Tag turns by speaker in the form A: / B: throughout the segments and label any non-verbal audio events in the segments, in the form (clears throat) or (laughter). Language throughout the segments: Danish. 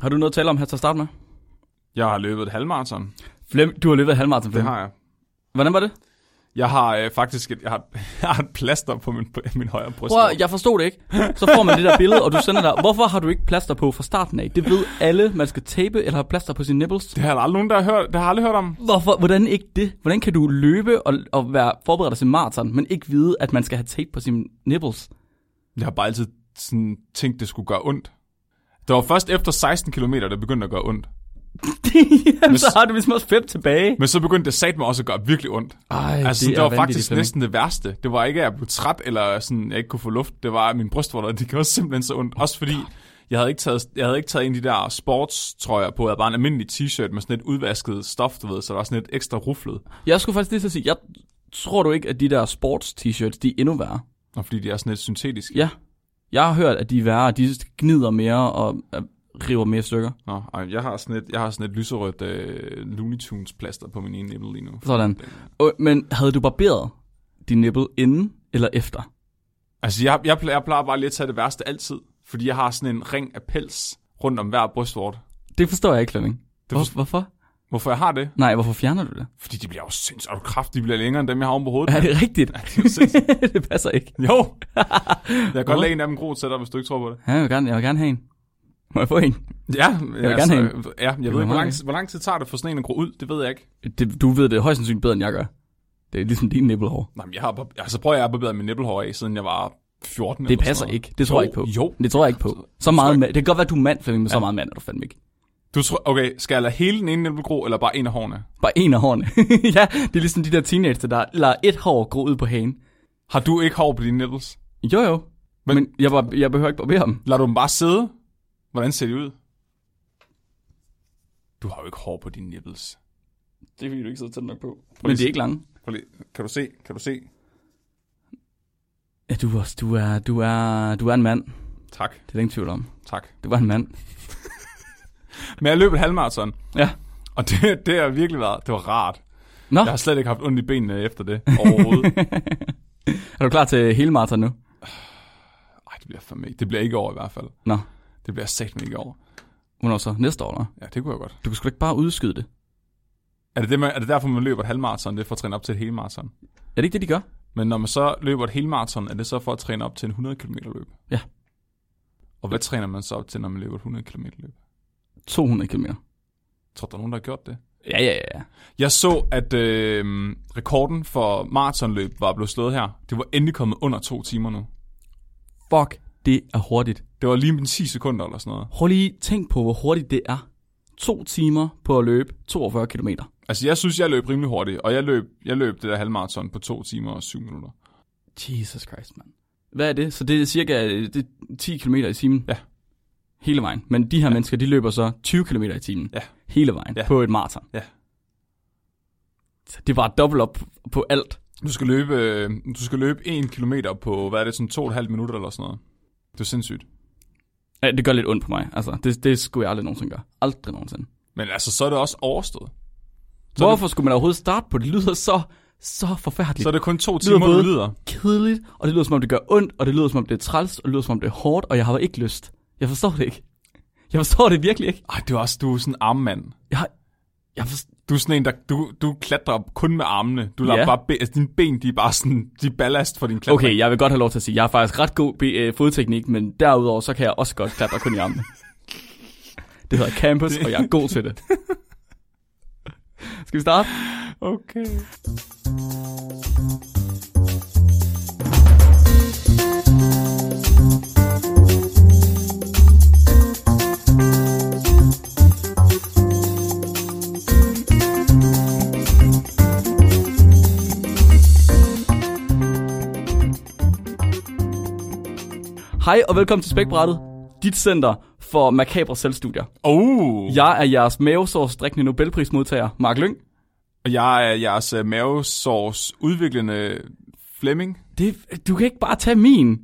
A: Har du noget at tale om her til at starte med?
B: Jeg har løbet et halvmarathon.
A: Flem, du har løbet halvmarathon,
B: Det
A: Flem.
B: har jeg.
A: Hvordan var det?
B: Jeg har øh, faktisk et, jeg har, (laughs) jeg har et plaster på min, på min højre bryst.
A: Prøv, at- jeg forstod det ikke. Så får man det der billede, og du sender dig. Hvorfor har du ikke plaster på fra starten af? Det ved alle, man skal tape eller have plaster på sine nipples.
B: Det har der aldrig nogen, der har hørt, der har aldrig hørt om.
A: Hvorfor, hvordan ikke det? Hvordan kan du løbe og, og være forberedt dig til maraton, men ikke vide, at man skal have tape på sine nipples? (laughs)
B: Jeg har bare altid sådan, tænkt, det skulle gøre ondt. Det var først efter 16 km, det begyndte at gøre ondt.
A: Jamen, så har du ligesom også fem tilbage.
B: Men så begyndte det satme også at gøre virkelig ondt.
A: Ej,
B: Altså, det, det
A: er
B: var
A: vanvittigt,
B: faktisk
A: Flemming.
B: næsten det værste. Det var ikke, at jeg blev træt, eller sådan, jeg ikke kunne få luft. Det var, at min brystvorter, det gjorde simpelthen så ondt. Også fordi, jeg havde ikke taget, jeg havde ikke taget en af de der sportstrøjer på. Jeg havde bare en almindelig t-shirt med sådan lidt udvasket stof, du ved. Så der var sådan lidt ekstra ruflet.
A: Jeg skulle faktisk lige så sige, jeg tror du ikke, at de der sports-t-shirts, de er endnu værre?
B: Og fordi de er sådan lidt syntetiske.
A: Ja. Jeg har hørt, at de er værre, de gnider mere og øh, river mere i stykker.
B: Nå, ej, jeg har sådan et, jeg har sådan et lyserødt øh, Looney Tunes plaster på min ene nippel lige nu.
A: Sådan. Og, men havde du barberet din nipple inden eller efter?
B: Altså, jeg, jeg, plejer, jeg plejer bare lige at tage det værste altid. Fordi jeg har sådan en ring af pels rundt om hver brystvort.
A: Det forstår jeg ikke, Flemming.
B: Det
A: Hvor, hvorfor?
B: Hvorfor jeg har det?
A: Nej, hvorfor fjerner du det?
B: Fordi de bliver jo sindssygt. Er du kraft, de bliver længere end dem, jeg har oven
A: (laughs)
B: på hovedet.
A: Er det rigtigt?
B: Det er jo sindssygt.
A: (laughs) det passer ikke.
B: Jo. Jeg kan
A: Nå.
B: godt lægge en af dem gro til dig, hvis du ikke tror på det.
A: Ja, jeg vil gerne, jeg vil gerne have en. Må jeg få en?
B: Ja,
A: vil
B: altså,
A: gerne have
B: Ja, jeg
A: var
B: ved ikke, hvor
A: meget
B: lang,
A: godt.
B: tid, hvor lang tid tager det for sådan en at gro ud? Det ved jeg ikke.
A: Det, du ved det højst sandsynligt bedre, end jeg gør. Det er ligesom din nippelhår.
B: Nej, men jeg har bare, altså prøver jeg at barbere min nippelhår af, siden jeg var 14
A: Det
B: eller
A: passer
B: sådan noget.
A: ikke. Det tror
B: jo,
A: jeg ikke på.
B: Jo.
A: Det tror jeg ikke på. Så meget mand. Det kan godt være, at du er mand, Flemming, men så meget mand er du fandme ikke.
B: Du tror, okay, skal jeg lade hele den ene nippel gro, eller bare en af hårene?
A: Bare en af hårene. (laughs) ja, det er ligesom de der teenager, der lader et hår gro ud på hagen.
B: Har du ikke hår på dine nipples?
A: Jo jo, men,
B: Men-
A: men jeg, var, jeg behøver ikke barbere dem.
B: Lad du dem bare sidde? Hvordan ser de ud? Du har jo ikke hår på dine nipples.
A: Det er fordi, du ikke sidder tæt nok på. Men
B: lige
A: det er ikke lange.
B: Prøv lige- Kan du se? Kan du se?
A: Ja, du, er også, du, er, du, er, du er en mand.
B: Tak,
A: Det er der ingen tvivl om.
B: tak.
A: Du var en mand.
B: Men jeg løb et halvmarathon,
A: Ja.
B: og det, det har virkelig været, det var rart.
A: Nå,
B: Jeg har slet ikke haft ondt i benene efter det
A: (laughs)
B: overhovedet.
A: er du klar til hele maraton nu?
B: Ej, det bliver fandme ikke. Det bliver ikke over i hvert fald.
A: Nå,
B: Det bliver sagt ikke over.
A: hvornår så? Næste år, eller?
B: Ja, det kunne jeg godt.
A: Du kan sgu da ikke bare udskyde det.
B: Er det, det man, er det derfor, man løber et halvmarathon? Det er for at træne op til et helmarathon.
A: Er det ikke det, de gør?
B: Men når man så løber et helmarathon, er det så for at træne op til en 100 km løb?
A: Ja.
B: Og hvad træner man så op til, når man løber et 100 km løb?
A: 200 km.
B: Tror du, der er nogen, der har gjort det?
A: Ja, ja, ja, ja.
B: Jeg så, at øh, rekorden for maratonløb var blevet slået her. Det var endelig kommet under to timer nu.
A: Fuck, det er hurtigt.
B: Det var lige min 10 sekunder eller sådan noget.
A: Prøv lige tænk på, hvor hurtigt det er. To timer på at løbe 42 km.
B: Altså, jeg synes, jeg løb rimelig hurtigt, og jeg løb, jeg løb det der halvmarathon på to timer og syv minutter.
A: Jesus Christ, mand. Hvad er det? Så det er cirka øh, det er 10 km i timen?
B: Ja.
A: Hele vejen. Men de her ja. mennesker, de løber så 20 km i timen.
B: Ja.
A: Hele vejen.
B: Ja.
A: På et maraton.
B: Ja.
A: Så det er bare dobbelt op på alt.
B: Du skal løbe, øh, du skal løbe 1 kilometer på, hvad er det, sådan to og et halvt minutter eller sådan noget. Det er sindssygt.
A: Ja, det gør lidt ondt på mig. Altså, det, det skulle jeg aldrig nogensinde gøre. Aldrig nogensinde.
B: Men altså, så er det også overstået. Så er
A: Hvorfor skulle man overhovedet starte på det? Det lyder så, så forfærdeligt.
B: Så er det kun to
A: Lyder
B: timer, du
A: både-
B: lider.
A: kedeligt, og det lyder som om det gør ondt, og det lyder som om det er træls, og det lyder som om det er hårdt, og jeg har ikke lyst. Jeg forstår det ikke. Jeg forstår det virkelig ikke.
B: Ej, det er også, du er sådan en armmand.
A: Jeg, har, jeg forstår,
B: Du er sådan en, der, du, du klatrer kun med armene. Du lader
A: Ja.
B: ja. bare, be, altså, dine ben, de er bare sådan, de er ballast for din klatring.
A: okay, jeg vil godt have lov til at sige, jeg har faktisk ret god be- øh, fodteknik, men derudover så kan jeg også godt klatre kun i armene. Det hedder campus, og jeg er god til det. (laughs) Skal vi starte?
B: okay.
A: Hej og velkommen til Spækbrættet, dit center for makabre selvstudier.
B: Oh, ja.
A: Jeg er jeres mavesårsdrikkende Nobelprismodtager, Mark Lyng.
B: Og jeg er jeres uh, mavesårs udviklende Flemming.
A: Det, du kan ikke bare tage min.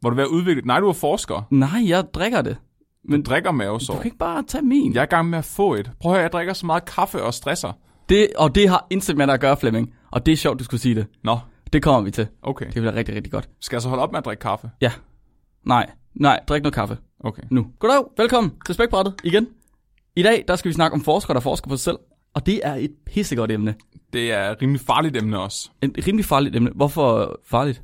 B: Hvor du ved at udvikle... Nej, du er forsker.
A: Nej, jeg drikker det.
B: Men
A: Men-
B: drikker
A: Du
B: mavesår.
A: kan ikke bare tage min.
B: Jeg er i gang med at få et. Prøv at høre, jeg drikker så meget kaffe og stresser.
A: Det, og det har intet med dig at gøre, Flemming. Og det er sjovt, du skulle sige det.
B: Nå,
A: Det kommer vi til.
B: okay.
A: Det bliver rigtig, rigtig godt.
B: Skal jeg så holde op med at drikke kaffe?
A: Ja. Nej. Nej, drik noget kaffe
B: Okay.
A: nu. Goddag, velkommen til Spækbrættet igen. I dag, der skal vi snakke om forskere, der forsker på sig selv. Og det er et pissegodt emne.
B: Det er et rimelig farligt emne også.
A: Et rimelig farligt emne. Hvorfor farligt?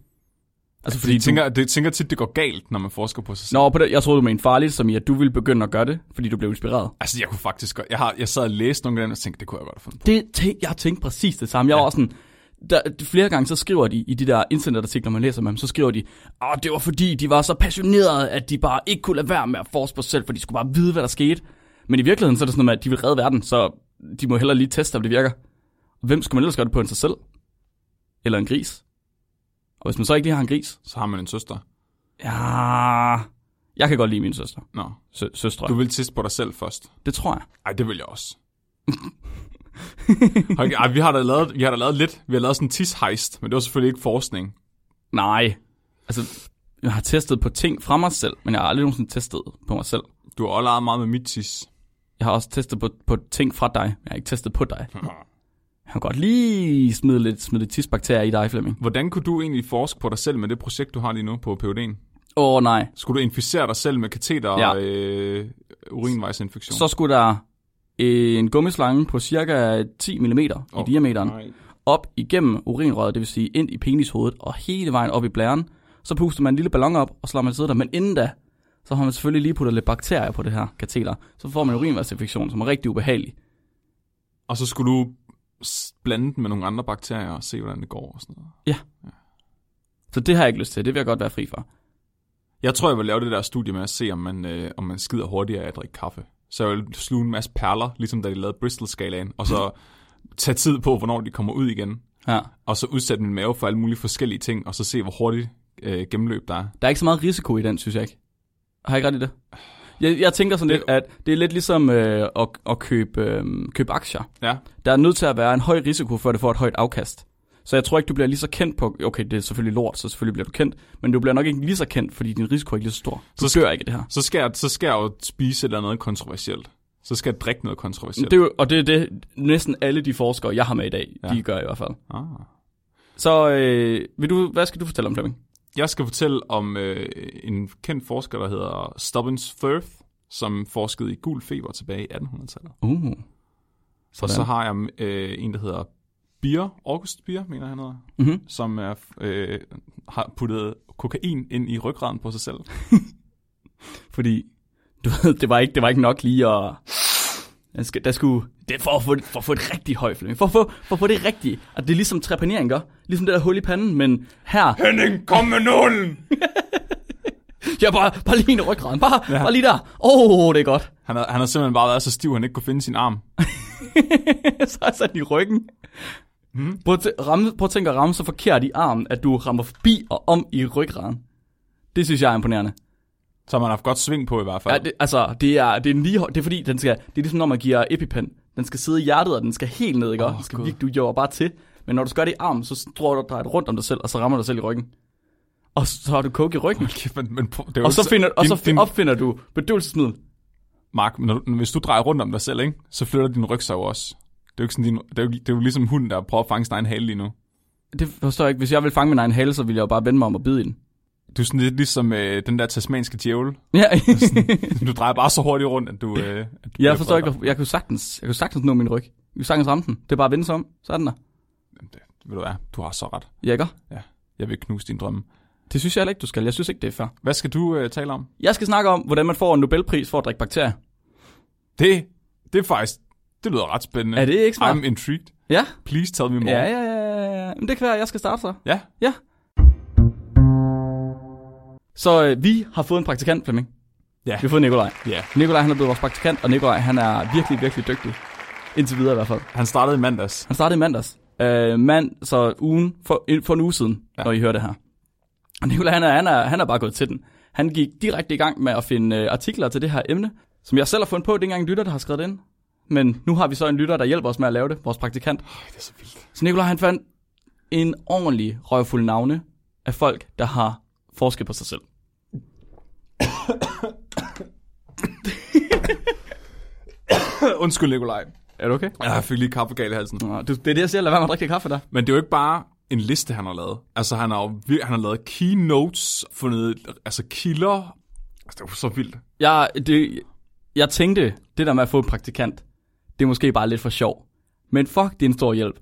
A: Altså fordi
B: Fordi
A: du...
B: tænker, det tænker tit, det går galt, når man forsker på sig selv.
A: Nå, på det, jeg troede, du mente farligt, som i, at du ville begynde at gøre det, fordi du blev inspireret.
B: Altså, jeg kunne faktisk godt... Jeg, har, jeg sad og læste nogle af dem, og tænkte, det kunne jeg godt have fundet på.
A: Det tænkte, jeg tænkte præcis det samme. Jeg ja. var sådan, der, flere gange så skriver de i de der internetartikler, man læser med dem, så skriver de, at det var fordi, de var så passionerede, at de bare ikke kunne lade være med at forske på sig selv, for de skulle bare vide, hvad der skete. Men i virkeligheden så er det sådan noget med, at de vil redde verden, så de må hellere lige teste, om det virker. Hvem skulle man ellers gøre det på end sig selv? Eller en gris? Og hvis man så ikke lige har en gris,
B: Så har man en søster.
A: ja, jeg kan godt lide min søster.
B: Nå.
A: Sø- søstre.
B: Du
A: Du...
B: vil teste på dig selv først.
A: Det tror jeg.
B: Ej, det vil jeg også. okay, ej, vi har da lavet, vi har da lavet lidt. Vi har lavet sådan en tishejst, men det var selvfølgelig ikke forskning.
A: Nej. Altså, jeg har testet på ting fra mig selv, men jeg har aldrig nogensinde testet på mig selv.
B: Du har også leget meget med mit tis.
A: Jeg har også testet på, på ting fra dig, men jeg har ikke testet på dig. Jeg kan godt lige smide lidt, smide lidt tidsbakterier i dig, Flemming.
B: Hvordan kunne du egentlig forske på dig selv med det projekt, du har lige nu på PUD'en?
A: Åh oh, nej.
B: Skulle du inficere dig selv med kateter og
A: Ja.
B: øh, urinvejsinfektion?
A: Så skulle der en gummislange på cirka 10 mm oh, i
B: Åh,
A: diameteren
B: Nej.
A: op igennem urinrøret, det vil sige ind i penishovedet og hele vejen op i blæren. Så puster man en lille ballon op, og så lader man sidde der. Men inden da, så har man selvfølgelig lige puttet lidt bakterier på det her kateter. Så får man en urinvejsinfektion, som er rigtig ubehagelig.
B: Og så skulle du s- blande den med nogle andre bakterier og se, hvordan det går og sådan noget.
A: Så det har jeg ikke lyst til. Det vil jeg godt være fri for.
B: Jeg tror, jeg vil lave det der studie med at se, om man, øh, om man skider hurtigere af at drikke kaffe. Så jeg vil sluge en masse perler, ligesom da de lavede Bristol-skalaen, og
A: (laughs)
B: så tage tid på, hvornår de kommer ud igen,
A: Ja.
B: og så udsætte min mave for alle mulige forskellige ting, og så se, hvor hurtigt øh, gennemløb der er.
A: Der er ikke så meget risiko i den, synes jeg ikke. Har jeg ikke ret i det? Jeg, jeg tænker sådan
B: Det-
A: lidt, at det er lidt ligesom øh, at, at købe, øh, købe aktier.
B: Ja,
A: Der er nødt til at være en høj risiko, for at det får et højt afkast. Så jeg tror ikke, du bliver lige så kendt på... Okay, det er selvfølgelig lort, så selvfølgelig bliver du kendt. Men du bliver nok ikke lige så kendt, fordi din risiko er ikke lige så stor. Du
B: Så skal-
A: dør ikke af det her.
B: så skal, jeg, så skal jeg jo spise et eller andet kontroversielt. Så skal jeg drikke noget kontroversielt.
A: Det er jo, og det er det, næsten alle de forskere, jeg har med i dag, ja.
B: Ja.
A: de gør i hvert fald.
B: Ah.
A: Så øh, vil du, hvad skal du fortælle om Flemming?
B: Jeg skal fortælle om øh, en kendt forsker, der hedder Stubbins Firth, som forskede i gul feber tilbage i 1800-tallet.
A: Uh,
B: Og
A: sådan.
B: så har jeg øh, en, der hedder Bier, August Bier, mener han hedder,
A: mm-hmm.
B: som er, øh, har puttet kokain ind i ryggraden på sig selv.
A: Fordi du ved, det var ikke, det var ikke nok lige at... Der, skal, der skulle... Det er for at få, for at få et rigtig højt Flemming. For at få, for at få det rigtige. Og det er ligesom trepanering gør. Ligesom det der hul i panden, men her...
B: Henning, kom med nålen!
A: Ja, bare, bare lige ind i ryggraden. Bare, ja. bare lige der. Åh, oh, det er godt. (laughs)
B: Han har, han har simpelthen bare været så stiv, at han ikke kunne finde sin arm.
A: så er sådan i ryggen. Mm. Prøv, at tæ- ramme, prøv at tænke at ramme så forkert i armen, at du rammer forbi og om i ryggraden. Det synes jeg er imponerende.
B: Så har man haft godt sving på i hvert fald.
A: Ja,
B: (laughs)
A: det, altså, det er, det er en lige, høj- det er fordi, den skal, det er ligesom når man giver epipen. Den skal sidde i hjertet, og den skal helt ned, ikke? Oh,
B: Åh,
A: den skal
B: Gud.
A: virkelig, du jobber bare til. Men når du gør det i armen, så tror du drejer det rundt om dig selv, og så rammer du dig selv i ryggen. Og så har du coke i ryggen.
B: Kæft, men, men, prøv- det er jo
A: Og så,
B: ikke-
A: finder, og
B: din-
A: så
B: din-
A: fin, opfinder du bedøvelsesmiddel.
B: Mark, når, du- hvis du drejer rundt om dig selv, ikke, så flytter din rygsæk jo også. Det er jo, ikke sådan, din, det, er jo, det er jo ligesom hunden, der prøver at fange sin egen hale lige nu.
A: Det forstår jeg ikke. Hvis jeg vil fange min egen hale, så ville jeg jo bare vende mig om og bide i den.
B: Du er sådan lidt ligesom øh, den der tasmanske djævel.
A: Ja, (laughs)
B: Du drejer bare så hurtigt rundt, at du... Øh, at du bliver
A: jeg forstår ikke.
B: vred.
A: hvorfor- Jeg kunne sagtens, jeg kunne sagtens nå min ryg. Jeg kunne sagtens ramme den. Det er bare at vende sig om. Så er den der.
B: Jamen, det- Ved du hvad, du har så ret.
A: Ja, ikke?
B: Jeg vil knuse din drømme.
A: Det synes jeg heller ikke, du skal. Jeg synes ikke, det er fair.
B: Hvad skal du øh, tale om?
A: Jeg skal snakke om, hvordan man får en Nobelpris for at drikke bakterier.
B: Det, det er faktisk... Det lyder ret spændende.
A: Er det ikke smart?
B: I'm intrigued.
A: Ja.
B: Please tell me more.
A: Ja, ja, ja, ja, ja. Men det kan være, at jeg skal starte så.
B: ja.
A: Ja. Så øh, vi har fået en praktikant, Flemming.
B: Ja.
A: Vi har fået Nikolaj.
B: ja.
A: Nikolaj, han er blevet vores praktikant, og Nikolaj, han er virkelig, virkelig dygtig. Indtil videre i hvert fald.
B: Han startede i mandags.
A: Han startede i mandags. Øh, mand, så ugen, for, en- for en uge siden, ja.
B: Ja.
A: når I hører det her. Og Nikolaj, han er, han, er, han er bare gået til den. Han gik direkte i gang med at finde øh, artikler til det her emne, som jeg selv har fundet på, det er ikke engang en lytter, der har skrevet det ind. Men nu har vi så en lytter, der hjælper os med at lave det, vores praktikant.
B: Ej, det er så vildt.
A: Så Nikolaj, han fandt en ordentlig røvfuld navne af folk, der har forsket på sig selv.
B: Undskyld, Nikolaj.
A: Er du okay?
B: Jeg fik lige kaffegal i halsen.
A: Nå, du, det er det, jeg siger. Lad være med at drikke det kaffe der.
B: Men det er jo ikke bare en liste, han har lavet. Altså, han har, jo vir- han har lavet keynotes, fundet altså, kilder, Altså, det var så vildt.
A: Jeg, det, jeg tænkte, det der med at få en praktikant, det er måske bare lidt for sjov. Men fuck, det er en stor hjælp.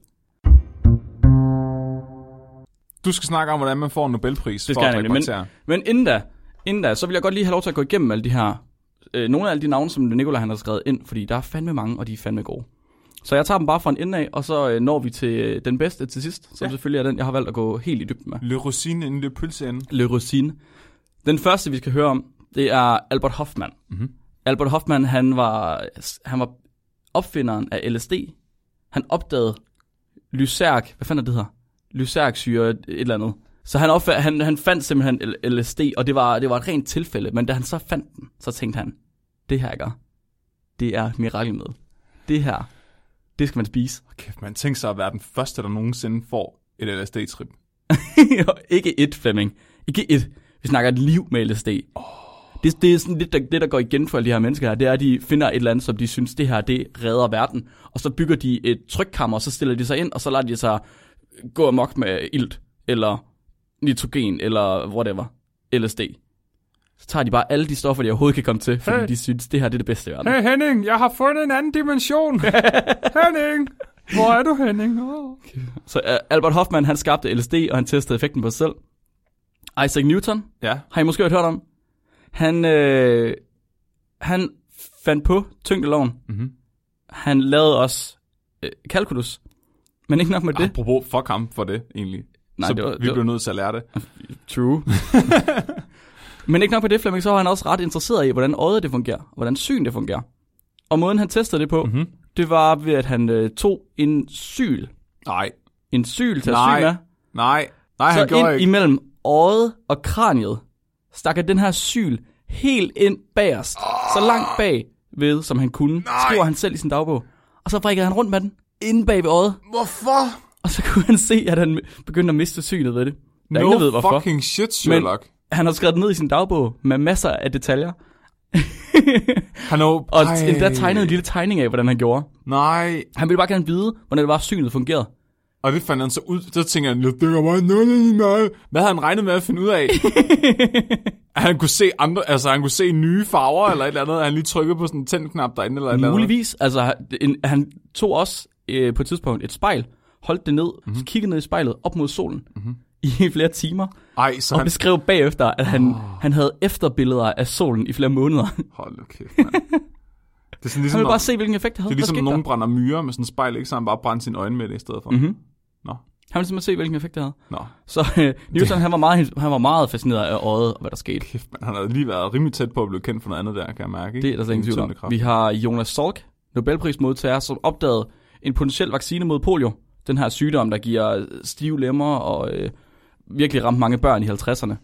B: Du skal snakke om, hvordan man får en Nobelpris
A: Det
B: for
A: skal jeg
B: at drikke
A: nemlig,
B: bakterier.
A: Men inden da, inden da, så vil jeg godt lige have lov til at gå igennem alle de her, øh, nogle af alle de navne, som Nicolai han har skrevet ind, fordi der er fandme mange, og de er fandme gode. Så jeg tager dem bare fra en ende af, og så øh, når vi til øh, den bedste til sidst, som ja. selvfølgelig er den, jeg har valgt at gå helt i dybden med.
B: Le rosine inden det pølse inden.
A: Le Rosine. Den første, vi skal høre om, det er Albert Hoffmann.
B: Mhm.
A: Albert Hoffmann, han var, han var opfinderen af LSD. Han opdagede lyserg, hvad fanden er det det hedder? Lysergsyre, et eller andet. Så han, opf- han, han fandt simpelthen L- LSD, og det var, det var et rent tilfælde. Men da han så fandt den, så tænkte han, det her, jeg gør, det er et mirakelmiddel. Det her, det skal man spise.
B: Kæft, man tænker sig at være den første, der nogensinde får et LSD-trip.
A: Og (laughs) ikke et, Flemming. Ikke et. Vi snakker et liv med LSD. Oh. Det, det er sådan lidt der, det, der går igen for alle de her mennesker her. Det er, at de finder et eller andet, som de synes, det her, det redder verden. Og så bygger de et trykkammer, og så stiller de sig ind, og så lader de sig gå amok med ilt, eller nitrogen, eller whatever. LSD. Så tager de bare alle de stoffer, de overhovedet kan komme til, fordi
B: Hey.
A: hey. de synes, det her det er det bedste i verden.
B: Hey Henning, jeg har fundet en anden
A: (laughs)
B: dimension. Henning, hvor er du Henning? Oh.
A: Så uh, Albert Hoffman, han skabte LSD, og han testede effekten på sig selv. Isaac Newton,
B: Ja,
A: har I måske hørt om. Han, øh, han fandt på tyngdeloven.
B: Mhm.
A: Han lavede også øh, calculus. Men ikke nok med det.
B: apropos fuck ham for det egentlig.
A: Ah, Nej,
B: så
A: det var-
B: vi
A: det var-
B: blev nødt til at lære det.
A: (laughs) True. Men ikke nok med det, Flemming, så var han også ret interesseret i, hvordan øjet det fungerer, og hvordan syn det fungerer. Og måden han testede det på,
B: Mhm.
A: det var ved, at han øh, tog en syl,
B: Nej,
A: en syl til at
B: Nej,
A: sy med,
B: nej, nej, han
A: så
B: gjorde
A: ind
B: ikke.
A: imellem øjet og kraniet stakker den her syl helt ind bagerst, så langt
B: Ah.
A: bag ved, som han kunne, Nej. skriver han selv i sin dagbog. Og så vrikkede han rundt med den, inde bag ved øjet,
B: Hvorfor?
A: og så (laughs) kunne han se, at han begyndte at miste synet ved det. Der er
B: No
A: ingen, der ved, hvorfor.
B: fucking shit, Sherlock. Men...
A: Han har skrevet det ned i sin dagbog med masser af detaljer,
B: Han er jo...
A: og
B: Ej,
A: Ej. endda tegnet en lille tegning af, hvordan han gjorde.
B: Nej,
A: Han ville bare gerne vide, hvordan det var, synet fungerede.
B: og det fandt han så ud. Så tænker han, det var bare noget i mig. Hvad havde han regnet med at
A: (laughs)
B: finde ud af? At han kunne se andre, altså han kunne se nye farver eller et eller andet. at Han lige trykkede på sådan en tændknap derinde eller et eller andet.
A: Muligvis. Altså, en, han tog også øh, på et tidspunkt et spejl, holdt det ned,
B: Mhm.
A: mm-hmm. kiggede ned i spejlet op mod solen mm-hmm. (laughs) i flere timer,
B: Ej, så
A: og
B: Mhm. han...
A: beskrev bagefter, at han, oh. han havde efterbilleder af solen i flere måneder. Han
B: Hold nu kæft, mand. Det er sådan
A: (laughs)
B: ligesom,
A: ville
B: når,
A: bare se, hvilken effekt det havde.
B: det er ligesom
A: Hvad skete
B: når nogen
A: der?
B: brænder myrer med sådan en spejl, ikke? Så han bare brænder sin øjne med det i stedet for.
A: Mhm.
B: Mm-hmm. Nå,
A: Han ville simpelthen se, hvilken effekt det havde.
B: nå.
A: Så øh, Newton, han var, meget, han var meget fascineret af øjet og hvad der skete.
B: Kæft, man. Han har lige været rimelig tæt på at blive kendt for noget andet der, kan jeg mærke. Ikke?
A: Det er der slet ingen tvivl om.
B: Tyndekraft.
A: Vi har Jonas Salk, Nobelprismodtager, som opdagede en potentiel vaccine mod polio. Den her sygdom, der giver stive lemmer og øh, virkelig ramte mange børn i 50'erne.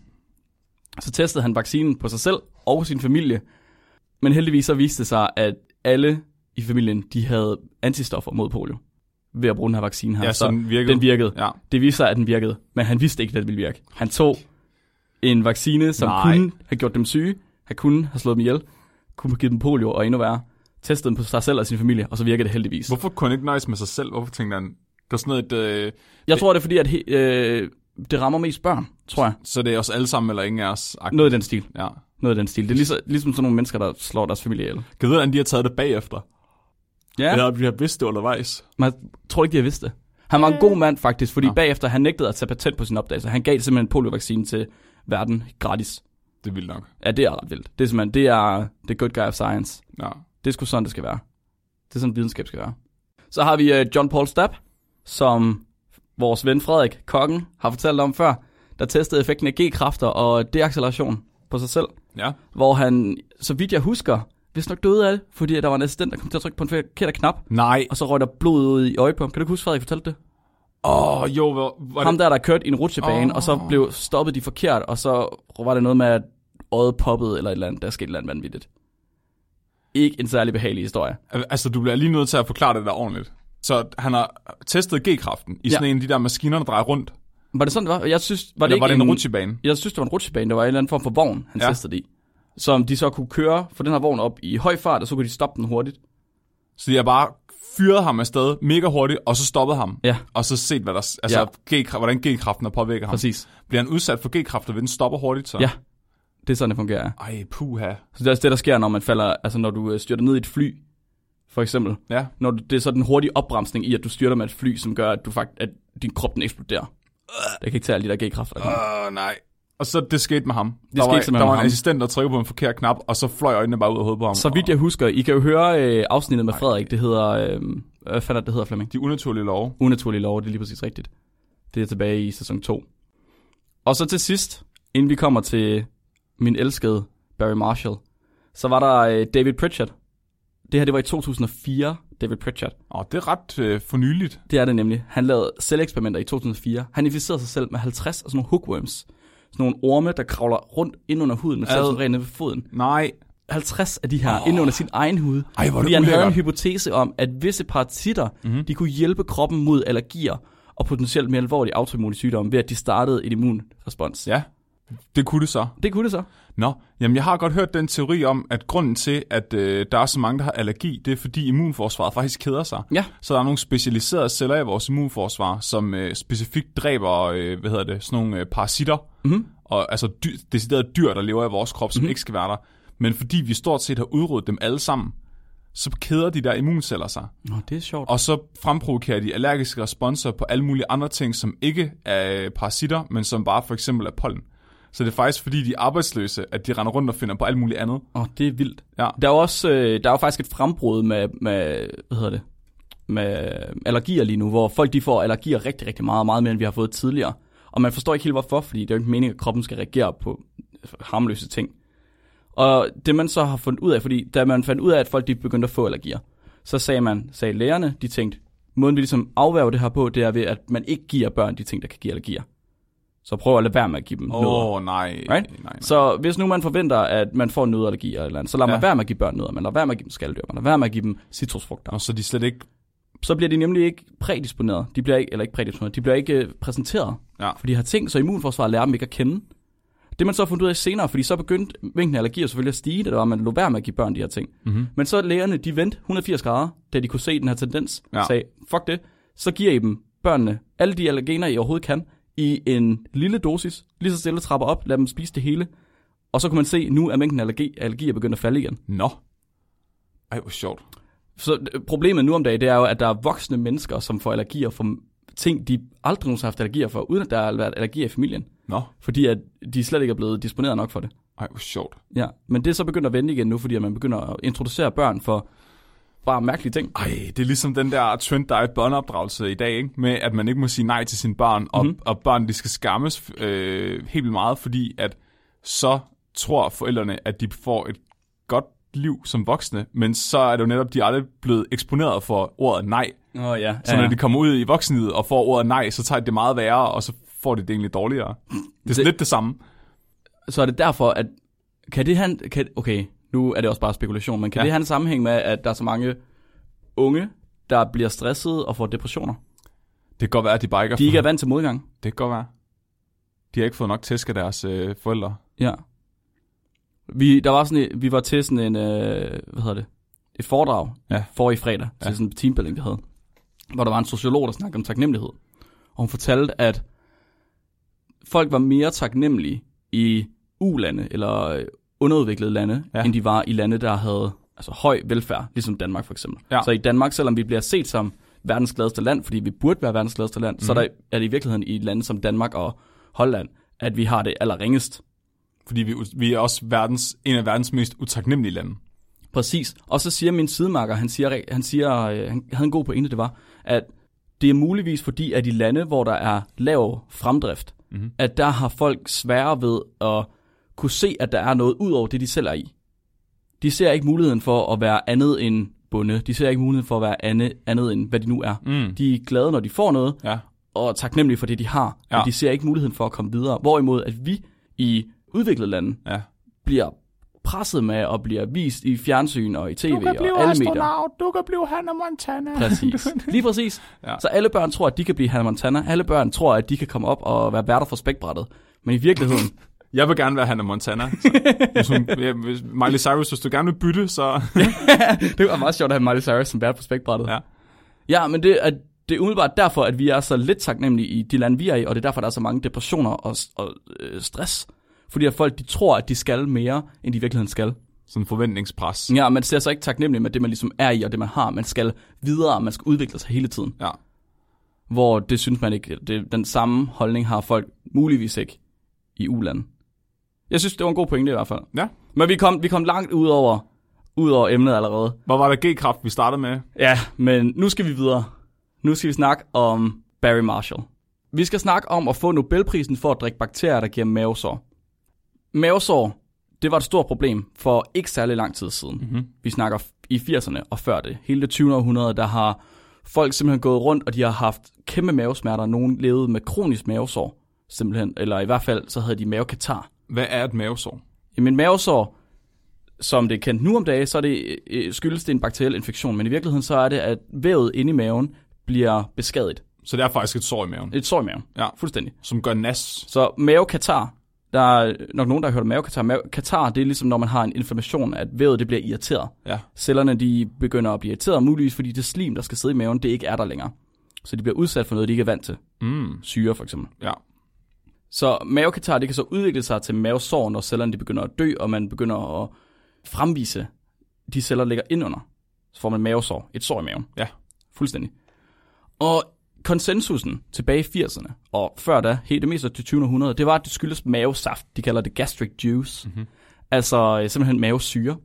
A: Så testede han vaccinen på sig selv og sin familie. Men heldigvis så viste det sig, at alle i familien, de havde antistoffer mod polio ved at bruge den her vaccine her.
B: Ja, så den virkede.
A: altså, den virkede.
B: Ja.
A: Det viste sig, at den virkede, men han vidste ikke, at det ville virke. Han tog en vaccine, som
B: Nej.
A: Nej. kunne have gjort dem syge, han kunne have slået dem ihjel, kunne have givet dem polio og endnu værre, testede dem på sig selv og sin familie, og så virkede det heldigvis.
B: Hvorfor kunne han ikke nøjes med sig selv? Hvorfor tænkte han, der er sådan noget, et, øh,
A: Jeg tror, det er fordi, at he, øh, det rammer mest børn, tror jeg.
B: så det er os alle sammen eller ingen af os. -agtigt.
A: Noget i den stil.
B: Ja.
A: Noget i den stil. Det er ligesom, ligesom sådan nogle mennesker, der slår deres familie ihjel.
B: Kan du vide, hvordan de har taget det bagefter? Ja. Eller
A: Ja,
B: om de har vidst det undervejs?
A: man tror ikke, de har vidst det. Han var en god mand faktisk, fordi ja. bagefter han nægtede at tage patent på sin opdagelse. Han gav simpelthen poliovaccinen til verden gratis.
B: Det er vildt nok.
A: Ja, det er ret vildt. Det er simpelthen, det er the good guy of science.
B: Ja.
A: Det er sgu sådan, det skal være. Det er sådan, videnskab skal være. Så har vi øh, John Paul Stapp, som vores ven Frederik, kokken, har fortalt om før, der testede effekten af G-kræfter og deacceleration på sig selv,
B: Ja.
A: hvor han, så vidt jeg husker, hvis nok døde af det, fordi der var en assistent, der kom til at trykke på en forkert knap,
B: Nej.
A: og så røg der blod ud i øjet på ham. Kan du ikke huske, Frederik fortalte det?
B: Åh, oh, jo, hvor, var
A: Ham
B: det?
A: der, der kørte i en rutsjebane,
B: Åh.
A: og så blev stoppet de forkert, og så var det noget med, at øjet poppede eller et eller andet. Der skete et eller andet vanvittigt. Ikke en særlig behagelig historie.
B: Altså, du bliver lige nødt til at forklare det der ordentligt. Så han har testet G-kraften i sådan
A: Ja.
B: en af de der maskiner, der drejer rundt. Var
A: Var det sådan, det var? Jeg synes, var det
B: Eller
A: ikke
B: var det en, en rutsjebane?
A: Jeg synes, det var en rutsjebane. Der var en eller anden form for vogn, han
B: Ja.
A: ja. testede det i. Som de så kunne køre for den her vogn op i høj fart, og så kunne de stoppe den hurtigt.
B: Så jeg bare fyrede ham afsted mega hurtigt, og så stoppede ham.
A: Ja.
B: Og så set, hvad der, altså, ja. G-kraft, hvordan G-kraften har påvirket ham.
A: Præcis.
B: Bliver han udsat for G-kræfter, ved den stopper hurtigt, så?
A: Ja. Det er sådan, det fungerer.
B: Ej, puha.
A: Så det er også det, der sker, når man falder, altså når du øh, styrter ned i et fly, for eksempel.
B: Ja.
A: Når du, det er så den hurtige opbremsning i, at du styrter med et fly, som gør, at, du fakt, at din krop den eksploderer. Det kan ikke tage alle de der G-kræfter. der kommer.
B: Åh, uh, nej. Og så det skete med ham. Det der
A: skete
B: var,
A: simpelthen
B: der var
A: med
B: en
A: ham.
B: assistent, der trykkede på en forkert knap, og så fløj øjnene bare ud af hovedet på ham.
A: Så vidt jeg husker, I kan jo høre øh, afsnittet med Frederik, det hedder, øh, hvad fanden er det, det hedder Flemming?
B: De unaturlige love.
A: Unaturlige lov, det er lige præcis rigtigt. Det er tilbage i sæson 2. Og så til sidst, inden vi kommer til min elskede Barry Marshall, så var der øh, David Pritchard. Det her, det var i 2004, David Pritchard.
B: Åh, det er ret øh, fornyeligt.
A: Det er det nemlig. Han lavede selveksperimenter i 2004. Han inficerede sig selv med 50 af sådan nogle hookworms. Sådan nogle orme, der kravler rundt ind under huden, men selv
B: Ad.
A: sådan rent ned ved foden.
B: Nej.
A: 50 af de her oh. ind under sin egen hud.
B: Ej, hvor er
A: Fordi
B: det
A: han havde en
B: ulækkert.
A: hypotese om, at visse parasitter, mm-hmm. de kunne hjælpe kroppen mod allergier og potentielt mere alvorlige autoimmune sygdomme, ved at de startede et immunrespons. Ja.
B: Ja, det kunne det så.
A: Det kunne det så.
B: Nå, jamen jeg har godt hørt den teori om, at grunden til, at øh, der er så mange, der har allergi, det er fordi immunforsvaret faktisk keder sig.
A: Ja.
B: Så der er nogle specialiserede celler i vores immunforsvar, som øh, specifikt dræber, øh, hvad hedder det, sådan nogle øh, parasitter. Mm-hmm. Og altså dy, deciderede dyr, der lever i vores krop, som mm-hmm. ikke skal være der. Men fordi vi stort set har udryddet dem alle sammen, så keder de der immunceller sig.
A: Nå, det er sjovt.
B: Og så fremprovokerer de allergiske responser på alle mulige andre ting, som ikke er øh, parasitter, men som bare for eksempel er pollen. Så det er faktisk fordi, de er arbejdsløse, at de render rundt og finder på alt muligt andet.
A: Åh, det er vildt.
B: Ja.
A: Der er jo også, øh, der er jo faktisk et frembrud med, med, hvad hedder det, med allergier lige nu, hvor folk de får allergier rigtig, rigtig meget, meget mere end vi har fået tidligere. Og man forstår ikke helt hvorfor, fordi det er jo ikke meningen, at kroppen skal reagere på harmløse ting. Og det man så har fundet ud af, fordi da man fandt ud af, at folk de begyndte at få allergier, så sagde man, sagde lægerne, de tænkte, måden vi ligesom afværger det her på, det er ved, at man ikke giver børn de ting, der kan give allergier. Så prøv at lade være med at give dem
B: Åh
A: noget.
B: oh, nej,
A: Right?
B: nej, nej.
A: Så hvis nu man forventer, at man får nødallergi eller et eller andet, så lader ja.
B: Ja.
A: man være med at give børn nødder, man lader være med at give dem skaldyr, man lader være med at give dem citrusfrugter.
B: Nå, så er de slet ikke...
A: Så bliver de nemlig ikke prædisponeret. De bliver ikke, eller ikke prædisponeret, de bliver ikke øh, præsenteret
B: Ja.
A: for de her ting, så immunforsvaret lærer dem ikke at kende. Det man så har fundet ud af senere, fordi så begyndte mængden af allergier selvfølgelig at stige, da det var, at man lå være med at give børn de her ting.
B: Mhm.
A: Men så lægerne, de vendte 180 grader, da de kunne se den her tendens,
B: Ja.
A: ja. sagde, fuck det, så giver I dem børnene alle de allergener, I overhovedet kan, i en lille dosis, lige så stille trapper op, lad dem spise det hele. Og så kunne man se, at nu er mængden af allergi, allergier begyndt at falde igen.
B: Nå. Ej, hvor sjovt.
A: Så øh, problemet nu om dagen, det er jo, at der er voksne mennesker, som får allergier for ting, de aldrig nogensinde har haft allergier for, uden at der har været allergier i familien
B: Nå.
A: fordi at de slet ikke er blevet disponeret nok for det.
B: Ej, hvor sjovt.
A: Ja, men det er så begyndt at vende igen nu, fordi at man begynder at introducere børn for bare mærkelige ting.
B: Ej, det er ligesom den der trend, der er i børneopdragelse i dag, ikke? Med at man ikke må sige nej til sine børn, og,
A: Mhm.
B: mm-hmm. og børn, de skal skammes øh, helt vildt meget, fordi at så tror forældrene, at de får et godt liv som voksne, men så er det jo netop, de er aldrig blevet eksponeret for ordet nej.
A: Åh oh, ja.
B: Så når de kommer ud i voksenlivet og får ordet nej, så tager de det meget værre, og så får de det egentlig dårligere. Det er sådan
A: Det-
B: lidt det samme.
A: så er det derfor, at kan det han, kan, okay, nu er det også bare spekulation, men kan
B: Ja.
A: ja. det have en sammenhæng med, at der er så mange unge, der bliver stresset og får depressioner?
B: Det kan godt være, at de bare ikke,
A: De ikke er
B: fået,
A: vant til modgang.
B: det kan godt være. De har ikke fået nok tæsk af deres øh, forældre.
A: Ja. Vi, der var sådan, en- vi var til sådan en, øh, hvad hedder det, et foredrag
B: Ja.
A: for i fredag, til
B: Ja.
A: sådan en teambuilding, vi havde, hvor der var en sociolog, der snakkede om taknemmelighed. Og hun fortalte, at folk var mere taknemmelige i ulande eller øh, underudviklede lande,
B: Ja.
A: ja. end de var i lande, der havde altså, høj velfærd, ligesom Danmark for eksempel.
B: Ja.
A: Så i Danmark, selvom vi bliver set som verdens gladeste land, fordi vi burde være verdens gladeste land, mm. så er,
B: Mhm.
A: der, er det i virkeligheden i lande som Danmark og Holland, at vi har det allerringest.
B: Fordi vi, vi er også verdens, en af verdens mest utaknemmelige lande.
A: Præcis. Og så siger min sidemarker, han siger, han siger, øh, han havde en god pointe, det var, at det er muligvis fordi, at i lande, hvor der er lav fremdrift, mm-hmm. at der har folk sværere ved at kunne se, at der er noget ud over det, de selv er i. De ser ikke muligheden for at være andet end bunde. De ser ikke muligheden for at være andet, andet end, hvad de nu er.
B: Mm.
A: De er glade, når de får noget,
B: Ja.
A: og taknemmelige for det, de har. Ja.
B: Ja.
A: Men de ser ikke muligheden for at komme videre. Hvorimod, at vi i udviklede lande,
B: ja.
A: bliver presset med og bliver vist i fjernsyn og i tv og alle medier.
B: du kan blive Hannah Montana.
A: Præcis. Lige præcis.
B: Ja.
A: ja. Så alle børn tror, at de kan blive Hannah Montana. Alle børn tror, at de kan komme op og være værter for spækbrættet. Men i virkeligheden,
B: Jeg vil gerne være Hannah Montana. (laughs) Så, hvis hun, ja, hvis, Miley Cyrus, hvis du gerne vil bytte, så... (laughs)
A: det var meget sjovt at have Miley Cyrus som vært på spækbrættet.
B: Ja.
A: ja men det er, det er umiddelbart derfor, at vi er så lidt taknemmelige i de lande, vi er i, og det er derfor, der er så mange depressioner og, og øh, stress. fordi at folk de tror, at de skal mere, end de i virkeligheden skal.
B: Sådan forventningspres.
A: Ja, og man ser så ikke taknemmelig med det, man ligesom er i, og det, man har. Man skal videre, og man skal udvikle sig hele tiden.
B: Ja.
A: Hvor det synes man ikke, det, den samme holdning har folk muligvis ikke i ulandet. Jeg synes, det var en god pointe i hvert fald.
B: ja.
A: Men vi kom, vi kom langt ud over, ud over emnet allerede.
B: Hvor var der G-kraft, vi startede med?
A: Ja, men nu skal vi videre. Nu skal vi snakke om Barry Marshall. Vi skal snakke om at få Nobelprisen for at drikke bakterier, der giver mavesår. Mavesår, det var et stort problem for ikke særlig lang tid siden. Mm-hmm. Vi snakker f- i 80'erne og før det. Hele det 20. århundrede, der har folk simpelthen gået rundt, og de har haft kæmpe mavesmerter. Nogen levede med kronisk mavesår, simpelthen. Eller i hvert fald, så havde de mavekatar.
B: Hvad er et mavesår?
A: Jamen mavesår, som det er kendt nu om dage, så er det, øh, skyldes det en bakteriel infektion, men i virkeligheden så er det, at vævet inde i maven bliver beskadiget.
B: Så det er faktisk et sår i maven,
A: Et sår i maven.
B: Ja.
A: Fuldstændig.
B: som gør nas.
A: Så mavekatar, der er nok nogen, der har hørt om mavekatar. Mave- Katar, det er ligesom, når man har en inflammation, at vævet det bliver irriteret.
B: Ja.
A: Cellerne, de begynder at blive irriteret, muligvis fordi det slim, der skal sidde i maven, det ikke er der længere. Så de bliver udsat for noget, de ikke er vant til.
B: Mm.
A: Syre for eksempel.
B: Ja.
A: Så mavekatar, det kan så udvikle sig til mavesår, når cellerne de begynder at dø, og man begynder at fremvise de celler, der ligger indunder. Så får man mavesår, et sår i maven.
B: Ja.
A: Fuldstændig. Og konsensusen tilbage i 80'erne, og før da, helt det meste af det 20. århundrede, det var, at det skyldes mavesaft. De kalder det gastric juice.
B: Mhm.
A: Mm-hmm. Altså øh, simpelthen mavesyre.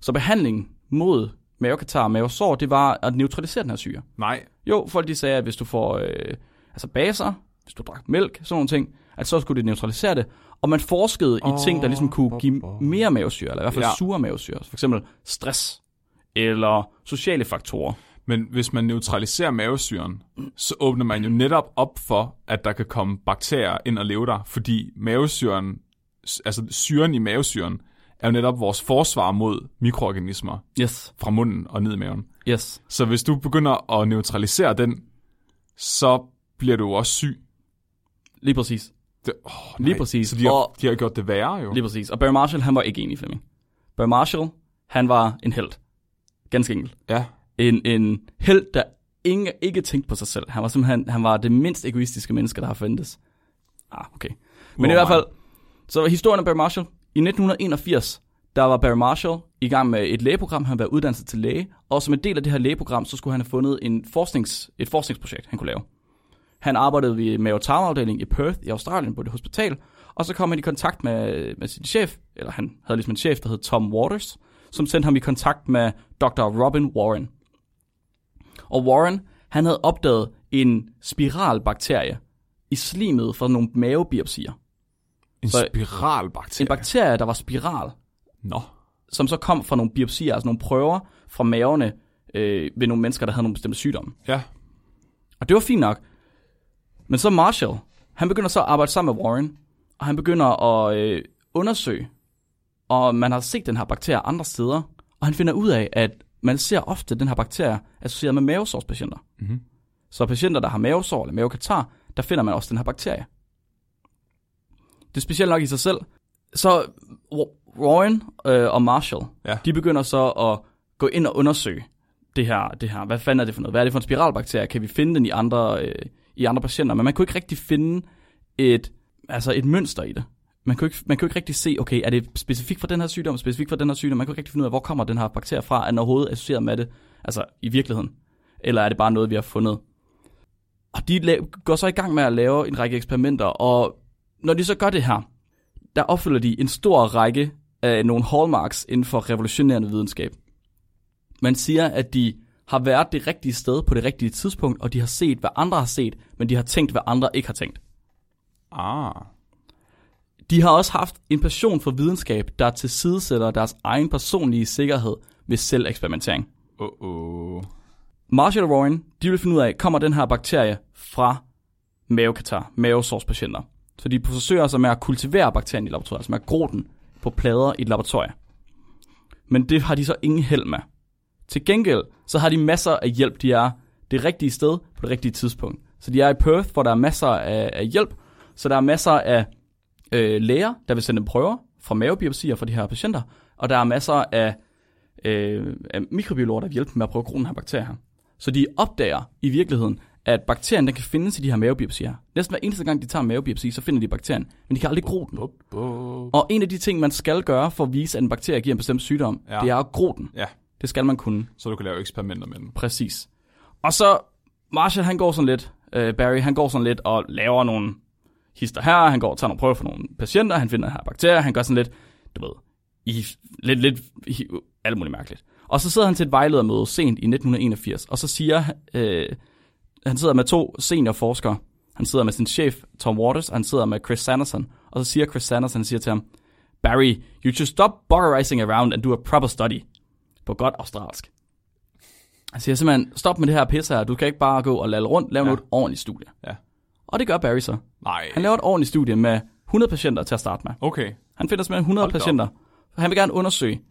A: Så behandlingen mod mavekatar og mavesår, det var at neutralisere den her syre.
B: Nej.
A: Jo, folk de sagde, at hvis du får øh, altså baser, hvis du drak mælk, sådan nogle ting, at så skulle det neutralisere det. Og man forskede oh, i ting, der ligesom kunne give mere mavesyre, eller i hvert fald ja.
B: Ja.
A: sure mavesyre. For eksempel stress, eller sociale faktorer.
B: Men hvis man neutraliserer mavesyren, så åbner man jo netop op for, at der kan komme bakterier ind og leve der, fordi mavesyren, s- altså syren i mavesyren, er jo netop vores forsvar mod mikroorganismer
A: Yes,
B: fra munden og ned i maven.
A: yes.
B: Så hvis du begynder at neutralisere den, så bliver du også syg.
A: Lige præcis.
B: Det, oh,
A: Lige præcis.
B: Så de har,
A: Og-
B: de har gjort det værre jo.
A: Lige præcis. Og Barry Marshall, han var ikke enig, Flemming. Barry Marshall, han var en held. Ganske enkelt.
B: Ja.
A: En, en held, der ikke, ikke tænkte på sig selv. Han var simpelthen han var det mindst egoistiske menneske, der har findes. Ah, okay. Men i
B: Udover
A: hvert
B: mig.
A: fald, så var historien om Barry Marshall. I 1981, der var Barry Marshall i gang med et lægeprogram. Han var uddannet til læge, og som en del af det her lægeprogram, så skulle han have fundet en forsknings, et forskningsprojekt, han kunne lave. Han arbejdede ved mave afdeling i Perth i Australien på det hospital, og så kom han i kontakt med, med sin chef, eller han havde ligesom en chef, der hed Tom Waters, som sendte ham i kontakt med Dr. Robin Warren. Og Warren, han havde opdaget en spiralbakterie i slimet fra nogle mavebiopsier.
B: En
A: Så-
B: spiralbakterie.
A: En bakterie, der var spiral,
B: Nå.
A: som så kom fra nogle biopsier, altså nogle prøver fra maverne øh, ved nogle mennesker, der havde nogle bestemte sygdomme.
B: Ja.
A: Og det var fint nok. Men så Marshall, han begynder så at arbejde sammen med Warren, og han begynder at øh, undersøge, og man har set den her bakterie andre steder, og han finder ud af, at man ser ofte den her bakterie associeret med mavesårspatienter. Mm-hmm.
B: Mhm.
A: Så patienter, der har mavesår eller mavekatar, der finder man også den her bakterie. Det er specielt nok i sig selv. Så Wa- Warren øh, og Marshall,
B: Ja.
A: de begynder så at gå ind og undersøge, det her, det her, hvad fanden er det for noget? Hvad er det for en spiralbakterie? Kan vi finde den i andre, øh, i andre patienter? Men man kunne ikke rigtig finde et, altså et mønster i det. Man kunne, ikke, man kunne ikke rigtig se, okay, er det specifikt for den her sygdom, specifikt for den her sygdom? Man kunne ikke rigtig finde ud af, hvor kommer den her bakterie fra? Er den overhovedet associeret med det, altså i virkeligheden? Eller er det bare noget, vi har fundet? Og de la- går så i gang med at lave en række eksperimenter, og når de så gør det her, der opfylder de en stor række af nogle hallmarks inden for revolutionerende videnskab. Man siger, at de har været det rigtige sted på det rigtige tidspunkt, og de har set, hvad andre har set, men de har tænkt, hvad andre ikke har tænkt.
B: Ah.
A: De har også haft en passion for videnskab, der tilsidesætter deres egen personlige sikkerhed ved selveksperimentering.
B: Oh, oh.
A: Marshall og Warren, de vil finde ud af, kommer den her bakterie fra mavekatar, mavesårspatienter. Så de forsøger sig med at kultivere bakterien i laboratoriet, altså med at gro den på plader i et laboratorium. Men det har de så ingen held med. Til gengæld, så har de masser af hjælp. De er det rigtige sted på det rigtige tidspunkt. Så de er i Perth, hvor der er masser af, af hjælp. Så der er masser af øh, læger, der vil sende prøver fra mavebiopsier fra de her patienter. Og der er masser af, øh, af mikrobiologer, der vil hjælpe dem med at prøve at gro den her bakterie her. Så de opdager i virkeligheden, at bakterien den kan findes i de her mavebiopsier. Næsten hver eneste gang, de tager en mavebiopsi, så finder de bakterien, men de kan aldrig gro den.
B: Bup, bup.
A: Og en af de ting, man skal gøre for at vise, at en bakterie giver en bestemt sygdom,
B: Ja.
A: ja. det er at gro den.
B: Ja,
A: Det skal man kunne.
B: så du kan lave eksperimenter med den.
A: Øhm, Præcis. Og så, Marshall han går sådan lidt, øh, Barry han går sådan lidt og laver nogle hister her, han går og tager nogle prøver for nogle patienter, han finder her bakterier, han gør sådan lidt, du ved, i, lidt, lidt, i, alt muligt mærkeligt. Og så sidder han til et vejledermøde sent i 1981, og så siger, øh, han sidder med to seniorforskere, han sidder med sin chef, Tom Waters, og han sidder med Chris Sanderson, og så siger Chris Sanderson, han siger til ham, Barry, you should stop buggerizing around and do a proper study. På godt australsk. Han siger simpelthen, stop med det her pisse her, du kan ikke bare gå og lade rundt, lav
B: Ja.
A: ja. nu et ordentligt studie.
B: Ja.
A: Og det gør Barry så.
B: Nej.
A: Han laver et ordentligt studie med 100 patienter til at starte med.
B: Okay.
A: Han finder simpelthen 100
B: Hold da op.
A: patienter. Han vil gerne undersøge,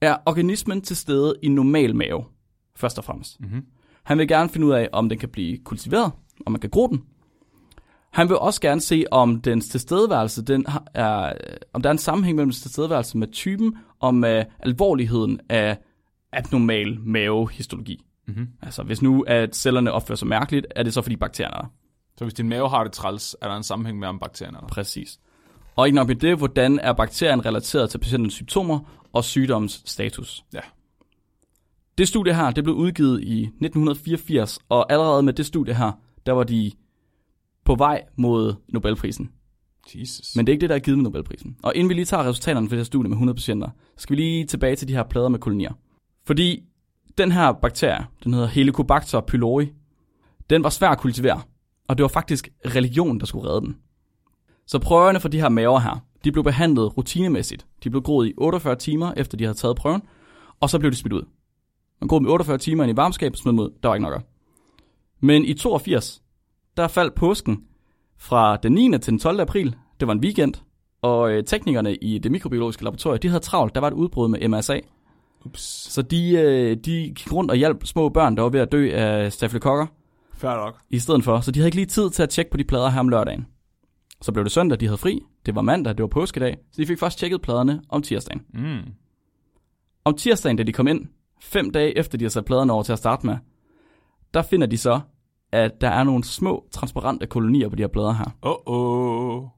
A: er organismen til stede i normal mave, først og fremmest.
B: Mhm.
A: Han vil gerne finde ud af, om den kan blive kultiveret, om man kan gro den. Han vil også gerne se, om dens tilstedeværelse, den har- er, om der er en sammenhæng mellem dens tilstedeværelse med typen, og med alvorligheden af abnormal mavehistologi.
B: Mhm.
A: Altså, hvis nu at cellerne opfører sig mærkeligt, er det så fordi bakterierne er der.
B: Så hvis din mave har det træls, er der en sammenhæng med om bakterierne er der?
A: Præcis. Og ikke nok med det, hvordan er bakterien relateret til patientens symptomer og sygdommens status?
B: Ja.
A: Det studie her, det blev udgivet i 1984, og allerede med det studie her, der var de på vej mod Nobelprisen.
B: Jesus.
A: Men det er ikke det, der er givet med Nobelprisen. Og inden vi lige tager resultaterne for det her studie med 100 patienter, så skal vi lige tilbage til de her plader med kolonier. Fordi den her bakterie, den hedder Helicobacter pylori, den var svær at kultivere, og det var faktisk religion, der skulle redde den. Så prøverne fra de her maver her, de blev behandlet rutinemæssigt. De blev groet i 48 timer, efter de havde taget prøven, og så blev de smidt ud. Man groede dem i 48 timer ind i varmskab og smed dem ud. Der var ikke nok af. Men i 82, der faldt påsken, fra den 9. til den 12. april, det var en weekend, og øh, teknikerne i det mikrobiologiske laboratorium, de havde travlt, der var et udbrud med MRSA.
B: Ups.
A: Så de, øh, de gik rundt og hjalp små børn, der var ved at dø af stafylokokker
B: Fair nok.
A: i stedet for. Så de havde ikke lige tid til at tjekke på de plader her om lørdagen. Så blev det søndag, de havde fri. Det var mandag, det var påskedag. Så de fik først tjekket pladerne om tirsdagen.
B: Mm.
A: Om tirsdagen, da de kom ind, fem dage efter de har sat pladerne over til at starte med, der finder de så, at der er nogle små, transparente kolonier på de her plader her.
B: Oh, oh.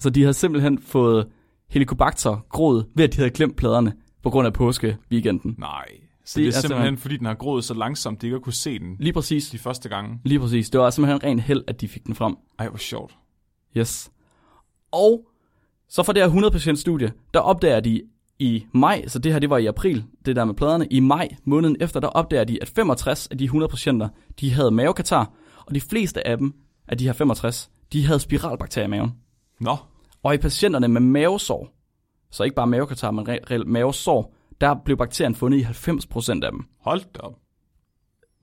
A: Så de havde simpelthen fået helicobacter groet ved, at de havde glemt pladerne på grund af påskeweekenden.
B: Nej.
A: Det
B: Så det, det
A: er
B: er
A: simpelthen-
B: simpelthen, fordi den har groet så langsomt, de ikke har kunne se den
A: Lige præcis.
B: de første gange.
A: Lige præcis. Det var simpelthen ren held, at de fik den frem.
B: Ej, hvor sjovt.
A: Yes. Og så fra det her 100 patient studie, der opdager de i maj, så det her det var i april, det der med pladerne, i maj måneden efter, der opdager de, at 65 af de 100 patienter, de havde mavekatar, og de fleste af dem, af de her 65, de havde spiralbakterier i maven.
B: Nå.
A: Og i patienterne med mavesår, så ikke bare mavekatar, men re- reelt mavesår, der blev bakterien fundet i 90% af dem.
B: Hold da op.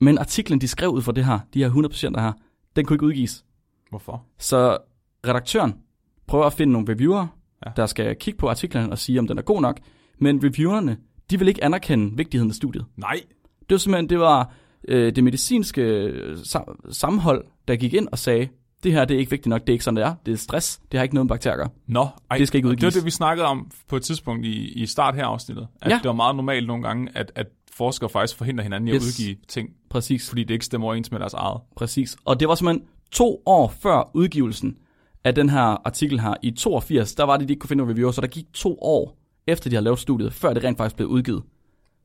A: Men artiklen, de skrev ud for det her, de her 100 patienter her, den kunne ikke udgives.
B: Hvorfor?
A: Så redaktøren prøver at finde nogle reviewer,
B: Ja.
A: ja. der skal kigge på artiklen og sige, om den er god nok. Men reviewerne, de vil ikke anerkende vigtigheden af studiet.
B: Nej.
A: Det var simpelthen, det var øh, det medicinske øh, sam- sammenhold, der gik ind og sagde, det her det er ikke vigtigt nok, det er ikke sådan, det er. Det er stress, det har ikke noget med bakterier at gøre.
B: Nå, ej,
A: Det skal ikke
B: og Det var
A: udgives.
B: det, vi snakkede om på et tidspunkt i, i start her afsnittet. At
A: Ja.
B: det var meget normalt nogle gange, at, at forskere faktisk forhindrer hinanden i at
A: Yes.
B: udgive ting,
A: Præcis.
B: fordi det ikke stemmer overens med deres eget.
A: Præcis. Og det var simpelthen to år før udgivelsen af den her artikel her i 82, der var det, de ikke kunne finde nogen reviewer, så der gik to år efter de havde lavet studiet, før det rent faktisk blev udgivet.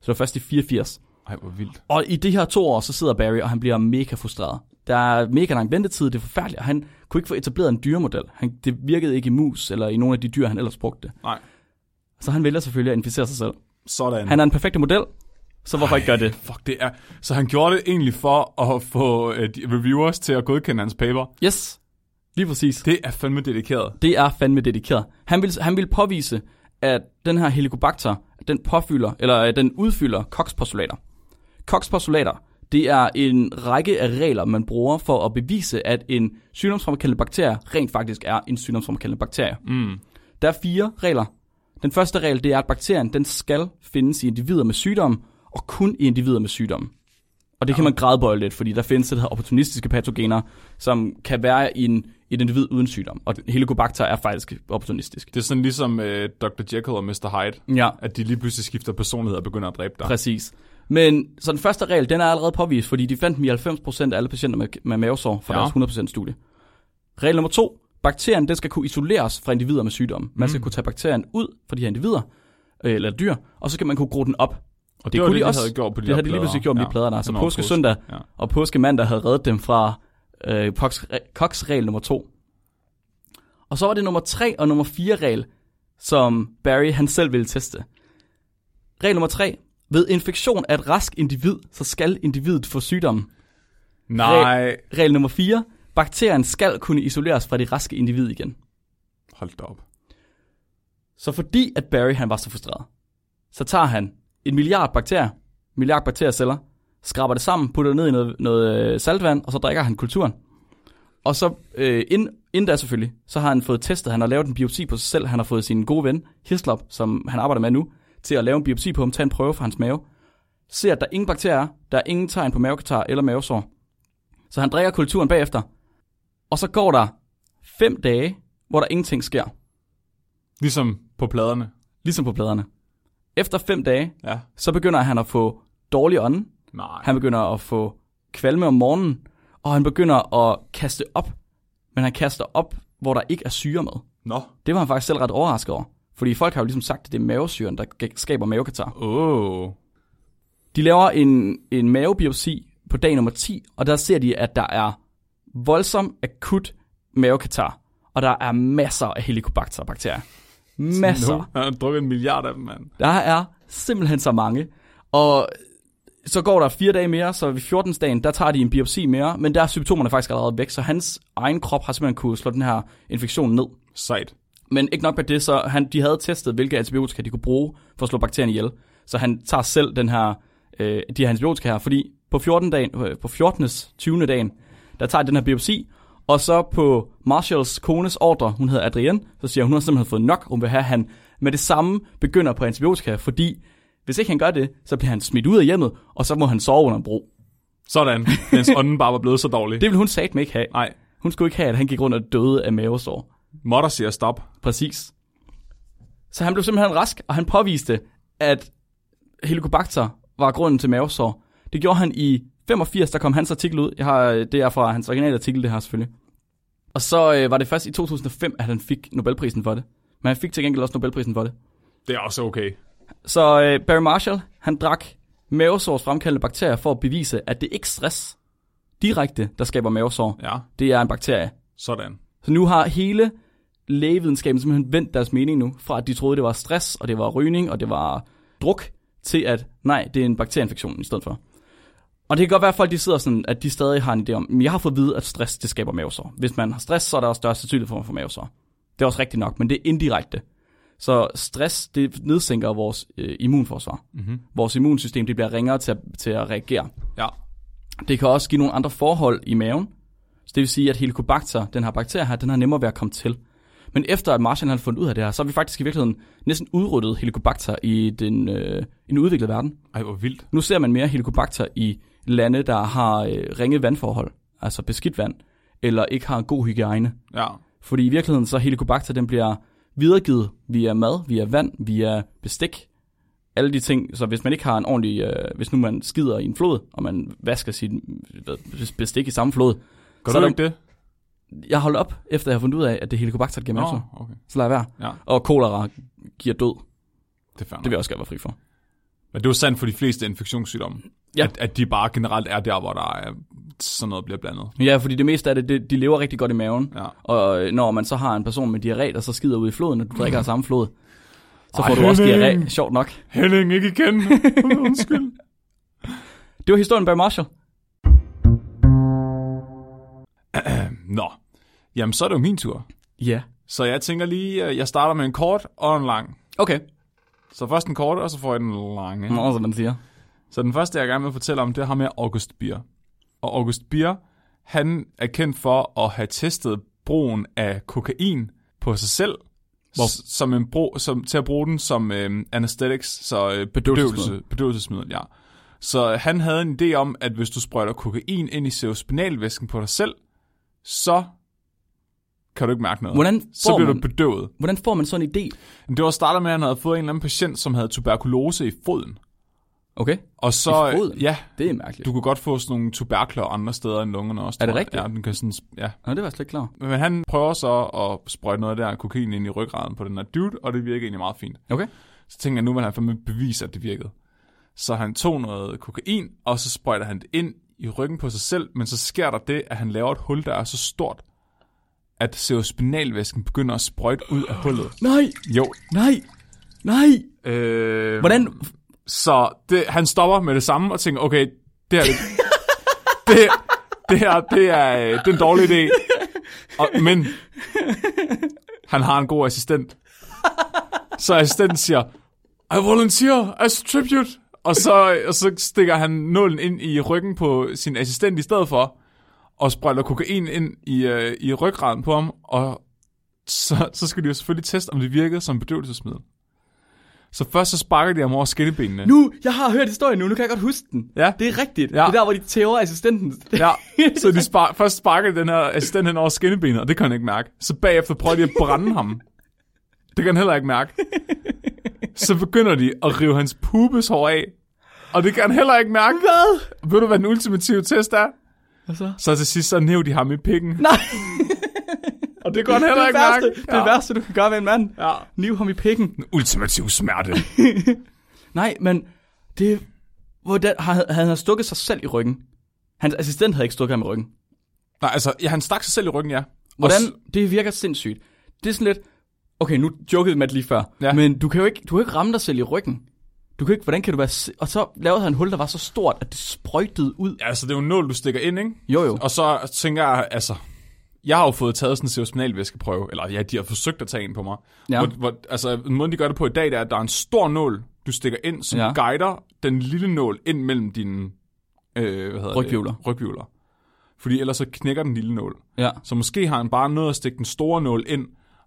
A: Så det var først i 84.
B: Ej, hvor vildt.
A: Og i de her to år, så sidder Barry, og han bliver mega frustreret. Der er mega lang ventetid, det er forfærdeligt, og han kunne ikke få etableret en dyremodel. Han, det virkede ikke i mus, eller i nogle af de dyr, han ellers brugte.
B: Nej.
A: Så han vælger selvfølgelig at inficere sig selv.
B: Sådan.
A: Han er en perfekt model, så hvorfor Ej. ikke gøre det?
B: Fuck, det er... Så han gjorde det egentlig for at få øh, de reviewers til at godkende hans paper.
A: Yes, lige præcis.
B: Det er fandme dedikeret.
A: Det er fandme dedikeret. Han vil, han vil påvise, at den her helicobacter, den påfylder, eller at den udfylder Cox-postulater. Cox-postulater, det er en række af regler, man bruger for at bevise, at en sygdomsfremkaldende bakterie rent faktisk er en sygdomsfremkaldende bakterie.
B: Mm.
A: Der er fire regler. Den første regel, det er, at bakterien den skal findes i individer med sygdom, og kun i individer med sygdom. Og det kan man gradbøje lidt, fordi der findes det her opportunistiske patogener, som kan være i en, et individ uden sygdom. Og helicobacter er faktisk opportunistisk.
B: Det er sådan ligesom øh, Dr. Jekyll og Mr. Hyde,
A: Ja,
B: at de lige pludselig skifter personlighed og begynder at dræbe dig.
A: præcis. Men så den første regel, den er allerede påvist, fordi de fandt dem i 90% af alle patienter med, med mavesår fra
B: Ja.
A: deres 100% studie. Regel nummer to. Bakterien, den skal kunne isoleres fra individer med sygdomme. Man skal kunne tage bakterien ud fra de her individer, øh, eller dyr, og så skal man kunne gro den op.
B: Og
A: det
B: det, var
A: kunne
B: det,
A: de
B: de
A: også.
B: havde gjort på de
A: Det
B: der
A: havde de lige
B: plader.
A: pludselig gjort med de plader, der.
B: Den
A: Så
B: var jo
A: påske søndag.
B: Ja.
A: Og påskemanden havde reddet dem fra øh, Koks, Koks regel nummer to. Og så var det nummer tre og nummer fire regel, som Barry han selv ville teste. Regel nummer tre. Ved infektion af et rask individ, så skal individet få sygdommen.
B: Nej,
A: Regel nummer 4. Bakterien skal kunne isoleres fra det raske individ igen.
B: hold da op.
A: Så fordi at Barry han var så frustreret, så tager han en milliard bakterier, milliard bakterieceller, skraber det sammen, putter det ned i noget, noget øh, saltvand, og så drikker han kulturen. Og så, øh, ind, inden da selvfølgelig, så har han fået testet, han har lavet en biopsi på sig selv, han har fået sin gode ven, Hislop, som han arbejder med nu, til at lave en biopsi på ham, tage en prøve fra hans mave, ser, at der ingen bakterier er, der er ingen tegn på mavekatar eller mavesår. Så han drikker kulturen bagefter, og så går der fem dage, hvor der ingenting sker.
B: Ligesom på pladerne.
A: Ligesom på pladerne. Efter fem dage,
B: Ja.
A: så begynder han at få dårlig ånde.
B: Nej.
A: Han begynder at få kvalme om morgenen. Og han begynder at kaste op. Men han kaster op, hvor der ikke er syre med.
B: Nå.
A: Det var han faktisk selv ret overrasket over. Fordi folk har jo ligesom sagt, at det er mavesyren, der g- skaber mavekatar.
B: Åh. Oh.
A: De laver en, en mavebiopsi på dag nummer 10, og der ser de, at der er voldsom akut mavekatar. Og der er masser af helicobacter-bakterier. Masser.
B: No. Han har drukket en milliard af dem, mand.
A: Der er simpelthen så mange. Og så går der fire dage mere, så ved 14. dagen, der tager de en biopsi mere, men der er symptomerne faktisk allerede væk, så hans egen krop har simpelthen kunne slå den her infektion ned.
B: Sejt.
A: Men ikke nok med det, så han, de havde testet, hvilke antibiotika de kunne bruge for at slå bakterien ihjel. Så han tager selv den her, øh, de her antibiotika her, fordi på 14. dagen, øh, på 14. 20. dagen, der tager den her biopsi, og så på Marshalls kones ordre, hun hedder Adrienne, så siger hun, hun har simpelthen fået nok, hun vil have, at han med det samme begynder på antibiotika, fordi hvis ikke han gør det, så bliver han smidt ud af hjemmet, og så må han sove under en bro.
B: Sådan.
A: (laughs)
B: Mens ånden bare var blevet så dårlig.
A: Det vil hun satme ikke have.
B: Nej.
A: Hun skulle ikke have, at han gik rundt og døde af mavesår.
B: Modder siger stop.
A: Præcis. Så han blev simpelthen rask, og han påviste, at Helicobacter var grunden til mavesår. Det gjorde han i 85, der kom hans artikel ud. Jeg har, øh, det er fra hans originale artikel, det her selvfølgelig. Og så øh, var det først i 2005, at han fik Nobelprisen for det. Men han fik til gengæld også Nobelprisen for det.
B: Det er også okay.
A: Så øh, Barry Marshall, han drak mavesårs fremkaldende bakterier for at bevise, at det ikke er stress direkte, der skaber mavesår.
B: Ja.
A: Det er en bakterie.
B: Sådan.
A: Så nu har hele lægevidenskaben simpelthen vendt deres mening nu, fra at de troede, det var stress, og det var rygning, og det var druk, til at nej, det er en bakterieinfektion i stedet for. Og det kan godt være, at folk de sidder sådan, at de stadig har en idé om, men jeg har fået at vide, at stress det skaber mavesår. Hvis man har stress, så er der også større sandsynlighed for at få mavesår. Det er også rigtigt nok, men det er indirekte. Så stress, det nedsænker vores øh, immunforsvar. Mm-hmm. Vores immunsystem, det bliver ringere til at, til at reagere.
B: Ja.
A: Det kan også give nogle andre forhold i maven. Så det vil sige, at helicobacter, den her bakterie her, den har nemmere ved at komme til. Men efter at Marshall har fundet ud af det her, så har vi faktisk i virkeligheden næsten udryddet helicobacter i den, øh, i den udviklede verden.
B: Ej, hvor vildt.
A: Nu ser man mere helicobacter i lande, der har øh, ringe vandforhold, altså beskidt vand, eller ikke har en god hygiejne.
B: Ja.
A: Fordi i virkeligheden så helicobacter, den bliver videregivet via mad, via vand, via bestik, alle de ting. Så hvis man ikke har en ordentlig, øh, hvis nu man skider i en flod, og man vasker sit øh, hvad, bestik i samme flod.
B: Gør
A: så
B: du ikke det?
A: Jeg holdt op, efter jeg har fundet ud af, at det er helicobacter, der giver mavesår.
B: Nå, okay.
A: Så lader jeg være.
B: Ja.
A: Og kolera giver død.
B: Det er fair
A: Det vil jeg også gerne være fri for.
B: Men det er jo sandt for de fleste infektionssygdomme.
A: Ja.
B: At, at de bare generelt er der, hvor der er sådan noget bliver blandet.
A: Ja, fordi det meste af det, det de lever rigtig godt i maven.
B: Ja.
A: Og øh, når man så har en person med diarré, der så skider ud i floden, og du drikker af samme flod, så
B: Ej,
A: får du også
B: Henning.
A: diarré. Sjovt nok.
B: Henning, ikke (laughs) igen. Undskyld.
A: Det var historien bag Marshall.
B: Nå. Jamen, så er det jo min tur.
A: Ja.
B: Så jeg tænker lige, øh, jeg starter med en kort og en lang.
A: Okay.
B: Så først en kort, og så får jeg den lange.
A: Nå, som man siger.
B: Så den første, jeg gerne vil fortælle om, det er ham her, August Bier. Og August Bier, han er kendt for at have testet brugen af kokain på sig selv, s- som en brug, som, til at bruge den som øh, anesthetics, så øh, bedøvelse,
A: Bedøvelsesmiddel.
B: bedøvelsesmiddel, ja. Så han havde en idé om, at hvis du sprøjter kokain ind i cerospinalvæsken på dig selv, så kan du ikke mærke noget.
A: Hvordan
B: så
A: får
B: bliver
A: man-
B: du bedøvet.
A: Hvordan får man sådan en idé?
B: Men Det var startet med, at han havde fået en eller anden patient, som havde tuberkulose i foden.
A: Okay,
B: Og så,
A: I foden?
B: ja,
A: det er mærkeligt.
B: du kan godt få sådan nogle tuberkler andre steder end lungerne også.
A: Er det
B: tror jeg.
A: rigtigt?
B: Ja, den kan sådan, ja.
A: Nå, det var jeg slet ikke klar. over.
B: Men han prøver så at sprøjte noget af det her kokain ind i ryggraden på den her dude, og det virker egentlig meget fint.
A: Okay.
B: Så tænker jeg, nu vil han fandme bevise, at det virkede. Så han tog noget kokain, og så sprøjter han det ind i ryggen på sig selv, men så sker der det, at han laver et hul, der er så stort, at cerebrospinalvæsken begynder at sprøjte ud af hullet.
A: Nej,
B: Jo.
A: nej, nej.
B: Øh,
A: Hvordan?
B: Så det, han stopper med det samme og tænker, okay, det her, det, det, det her, det er, øh, det er en dårlig idé. Og, men han har en god assistent. Så assistenten siger, I volunteer as a tribute. Og så, og så stikker han nålen ind i ryggen på sin assistent i stedet for, og sprøjter kokain ind i, øh, i ryggraden på ham, og så, så skal de jo selvfølgelig teste, om det virkede som bedøvelsesmiddel. Så først så sparker de ham over skinnebenene.
A: Nu, jeg har hørt historien nu, nu kan jeg godt huske den.
B: Ja.
A: Det er rigtigt.
B: Ja.
A: Det er der, hvor de tæver assistenten.
B: Ja, (laughs) så de spar- først sparker den her assistent hen over skinnebenet, og det kan han ikke mærke. Så bagefter prøver de at brænde ham. Det kan han heller ikke mærke. Så begynder de at rive hans pubeshår af, og det kan han heller ikke mærke.
A: Hvad?
B: Ved du, hvad den ultimative test er?
A: Og så?
B: Så til sidst, så næv de ham i pikken.
A: (laughs) Nej,
B: Og det kan han heller
A: det,
B: ikke
A: værste,
B: mærke.
A: det er det værste, du kan gøre ved en mand.
B: Ja.
A: Niv ham i pikken.
B: Den
A: (laughs)
B: ultimative smerte.
A: Nej, men det... Hvordan, har, havde han stukket sig selv i ryggen? Hans assistent havde ikke stukket ham i ryggen.
B: Nej, altså, ja, han stak sig selv i ryggen, ja. Og
A: Hvordan?
B: s-
A: Det virker sindssygt. Det er sådan lidt... Okay, nu jokede Matt lige før.
B: Ja.
A: Ja. Men du kan jo ikke, du kan ikke ramme dig selv i ryggen. Du kan ikke, hvordan kan du være... si- Og så lavede han en hul, der var så stort, at det sprøjtede ud.
B: Ja, altså, det er jo en nål, du stikker ind, ikke?
A: Jo, jo.
B: Og så tænker jeg, altså... Jeg har jo fået taget sådan en cerebrospinalvæskeprøve, eller ja, de har forsøgt at tage en på mig.
A: Ja.
B: Hvor, hvor, altså, måden de gør det på i dag, det er, at der er en stor nål, du stikker ind, som ja.
A: Ja.
B: guider den lille nål ind mellem dine øh, hvad hedder
A: Ryghvirvler.
B: Det? Ryghvirvler. Fordi ellers så knækker den lille nål.
A: Ja.
B: Så måske har han bare nået at stikke den store nål ind,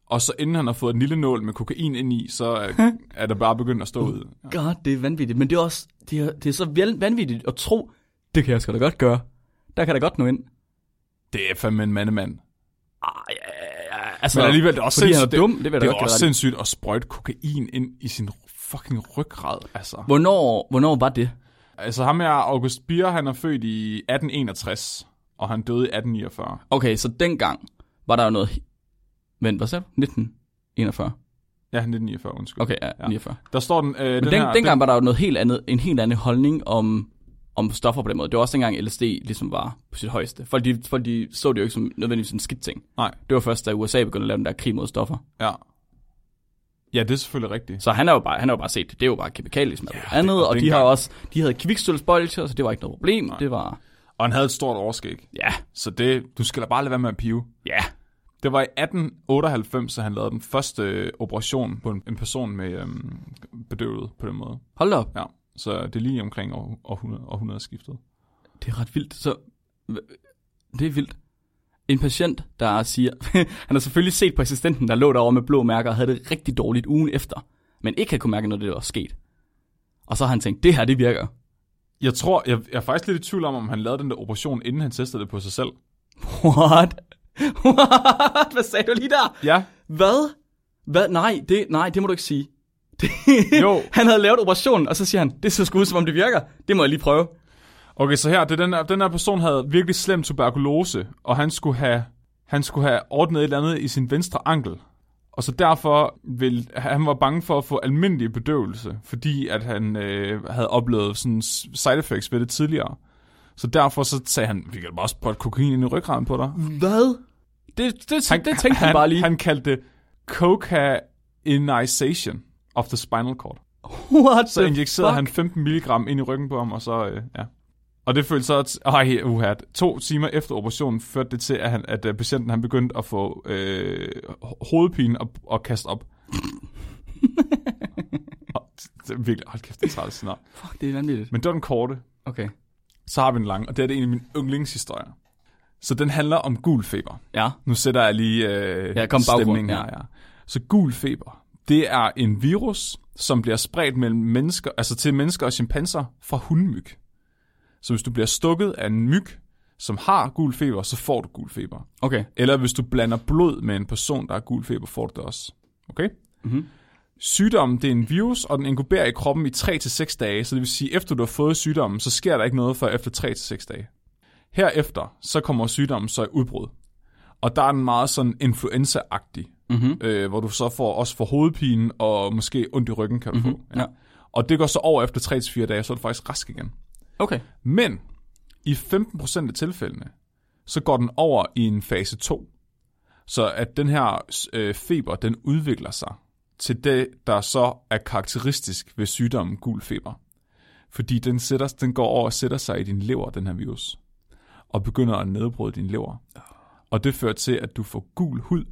B: og så inden han har fået den lille nål med kokain ind i,
A: (laughs)
B: så er, er der bare begyndt at stå ud.
A: God, det er vanvittigt. Men det er også... Det er, det er så vel- vanvittigt at tro, det kan jeg sgu da godt gøre. Der kan der godt nå ind.
B: Det er fandme en mandemand.
A: Ah, ja, ja, ja. Altså,
B: Men alligevel, det er også
A: fordi han er
B: sindssygt-
A: dum, det vil jeg da
B: Det er
A: godt give
B: også
A: dig ret i.
B: sindssygt at sprøjte kokain ind i sin fucking ryggrad, altså.
A: Hvornår, hvornår var det?
B: Altså ham her, August Bier, han er født i 1861, og han døde i 1849.
A: Okay, så dengang var der jo noget... Vent, hvad sagde du? 1941.
B: Ja, 1949, undskyld.
A: Okay, ja, 49.
B: Der står den, øh, den,
A: Men den,
B: her,
A: dengang var der jo noget helt andet, en helt anden holdning om, om stoffer på den måde. Det var også dengang LSD ligesom var på sit højeste. Folk de, folk de så det jo ikke som nødvendigvis en skidt ting.
B: Nej,
A: Det var først, da USA begyndte at lave den der krig mod stoffer.
B: ja. Ja, det er selvfølgelig rigtigt.
A: Så han har jo bare, han har jo bare set det. Det er jo bare kemikalier, som er
B: Ja,
A: ja, andet.
B: det- og
A: og de
B: dengang-
A: har også, de havde kvikstølsbolger, så det var ikke noget problem. Nej. Det var,
B: Og han havde et stort overskæg,
A: ja,
B: så det, du skal da bare lade være med at pive.
A: ja.
B: Det var i 1898, at han lavede den første øh, operation på en, en person med øhm, bedøvet på den måde.
A: Hold da op.
B: Ja, så det er lige omkring år, århundrede, århundredeskiftet.
A: Det er ret vildt. Så, det er vildt. En patient, der siger, (laughs) han har selvfølgelig set på assistenten, der lå derovre med blå mærker og havde det rigtig dårligt ugen efter, men ikke havde kunne mærke, når det var sket. Og så har han tænkt, det her, det virker. (laughs)
B: Jeg tror, jeg, jeg er faktisk lidt i tvivl om, om han lavede den der operation, inden han testede det på sig selv.
A: What? What? Hvad sagde du lige der?
B: Ja,
A: Hvad? Hvad? Nej, det, nej, det må du ikke sige. (laughs) Det-
B: Jo.
A: han havde lavet operationen, og så siger han, det ser sgu ud, som om det virker. Det må jeg lige prøve.
B: okay, så her, det er den, her, den her person havde virkelig slem tuberkulose, og han skulle have, han skulle have ordnet et eller andet i sin venstre ankel. Og så derfor vil, han var bange for at få almindelig bedøvelse, fordi at han øh, havde oplevet sådan s- side effects ved det tidligere. Så derfor så sagde han, vi kan da bare sprøjte kokain ind i ryggraden på dig.
A: Hvad? Det, det, det, det tænkte han,
B: han
A: bare lige.
B: Han kaldte det cocainization of the spinal cord.
A: What
B: Så
A: the
B: injicerede
A: fuck?
B: han 15 milligram ind i ryggen på ham, og så, øh, ja. Og det følte så, at ej, uha, to timer efter operationen førte det til, at, han, at øh, patienten han begyndte at få øh, ho- hovedpine og, og kaste
A: (laughs)
B: op. og, det er virkelig, hold kæft, det er træls scenarie.
A: Fuck, det er vanvittigt.
B: Men det var den korte,
A: Okay.
B: så har vi den lange, og det er det en af mine yndlingshistorier. Så den handler om gul feber.
A: Ja.
B: Nu sætter jeg lige øh,
A: Ja, kom baggrund,
B: stemningen
A: ja.
B: her. Ja. Så gul feber, det er en virus, som bliver spredt mellem mennesker, altså til mennesker og chimpanser fra hundmyg. Så hvis du bliver stukket af en myg, som har gul feber, så får du gul feber.
A: Okay.
B: Eller hvis du blander blod med en person, der har gul feber, får du det også. Okay? Mm-hmm. Sygdommen, det er en virus, og den inkuberer i kroppen i 3-6 dage, så det vil sige, efter du har fået sygdommen, så sker der ikke noget før efter 3-6 dage. Herefter, så kommer sygdommen så i udbrud. Og der er den meget sådan influenza-agtig, mm-hmm. øh, hvor du så får, også får hovedpine og måske ondt i ryggen, kan du mm-hmm. få.
A: ja.
B: Og det går så over efter 3-4 dage, så er du faktisk rask igen.
A: Okay.
B: Men i 15% af tilfældene, så går den over i en fase 2. Så at den her øh, feber, den udvikler sig til det, der så er karakteristisk ved sygdommen gul feber. Fordi den, sætter, den går over og sætter sig i din lever, den her virus. Og begynder at nedbryde din lever. Og det fører til, at du får gul hud,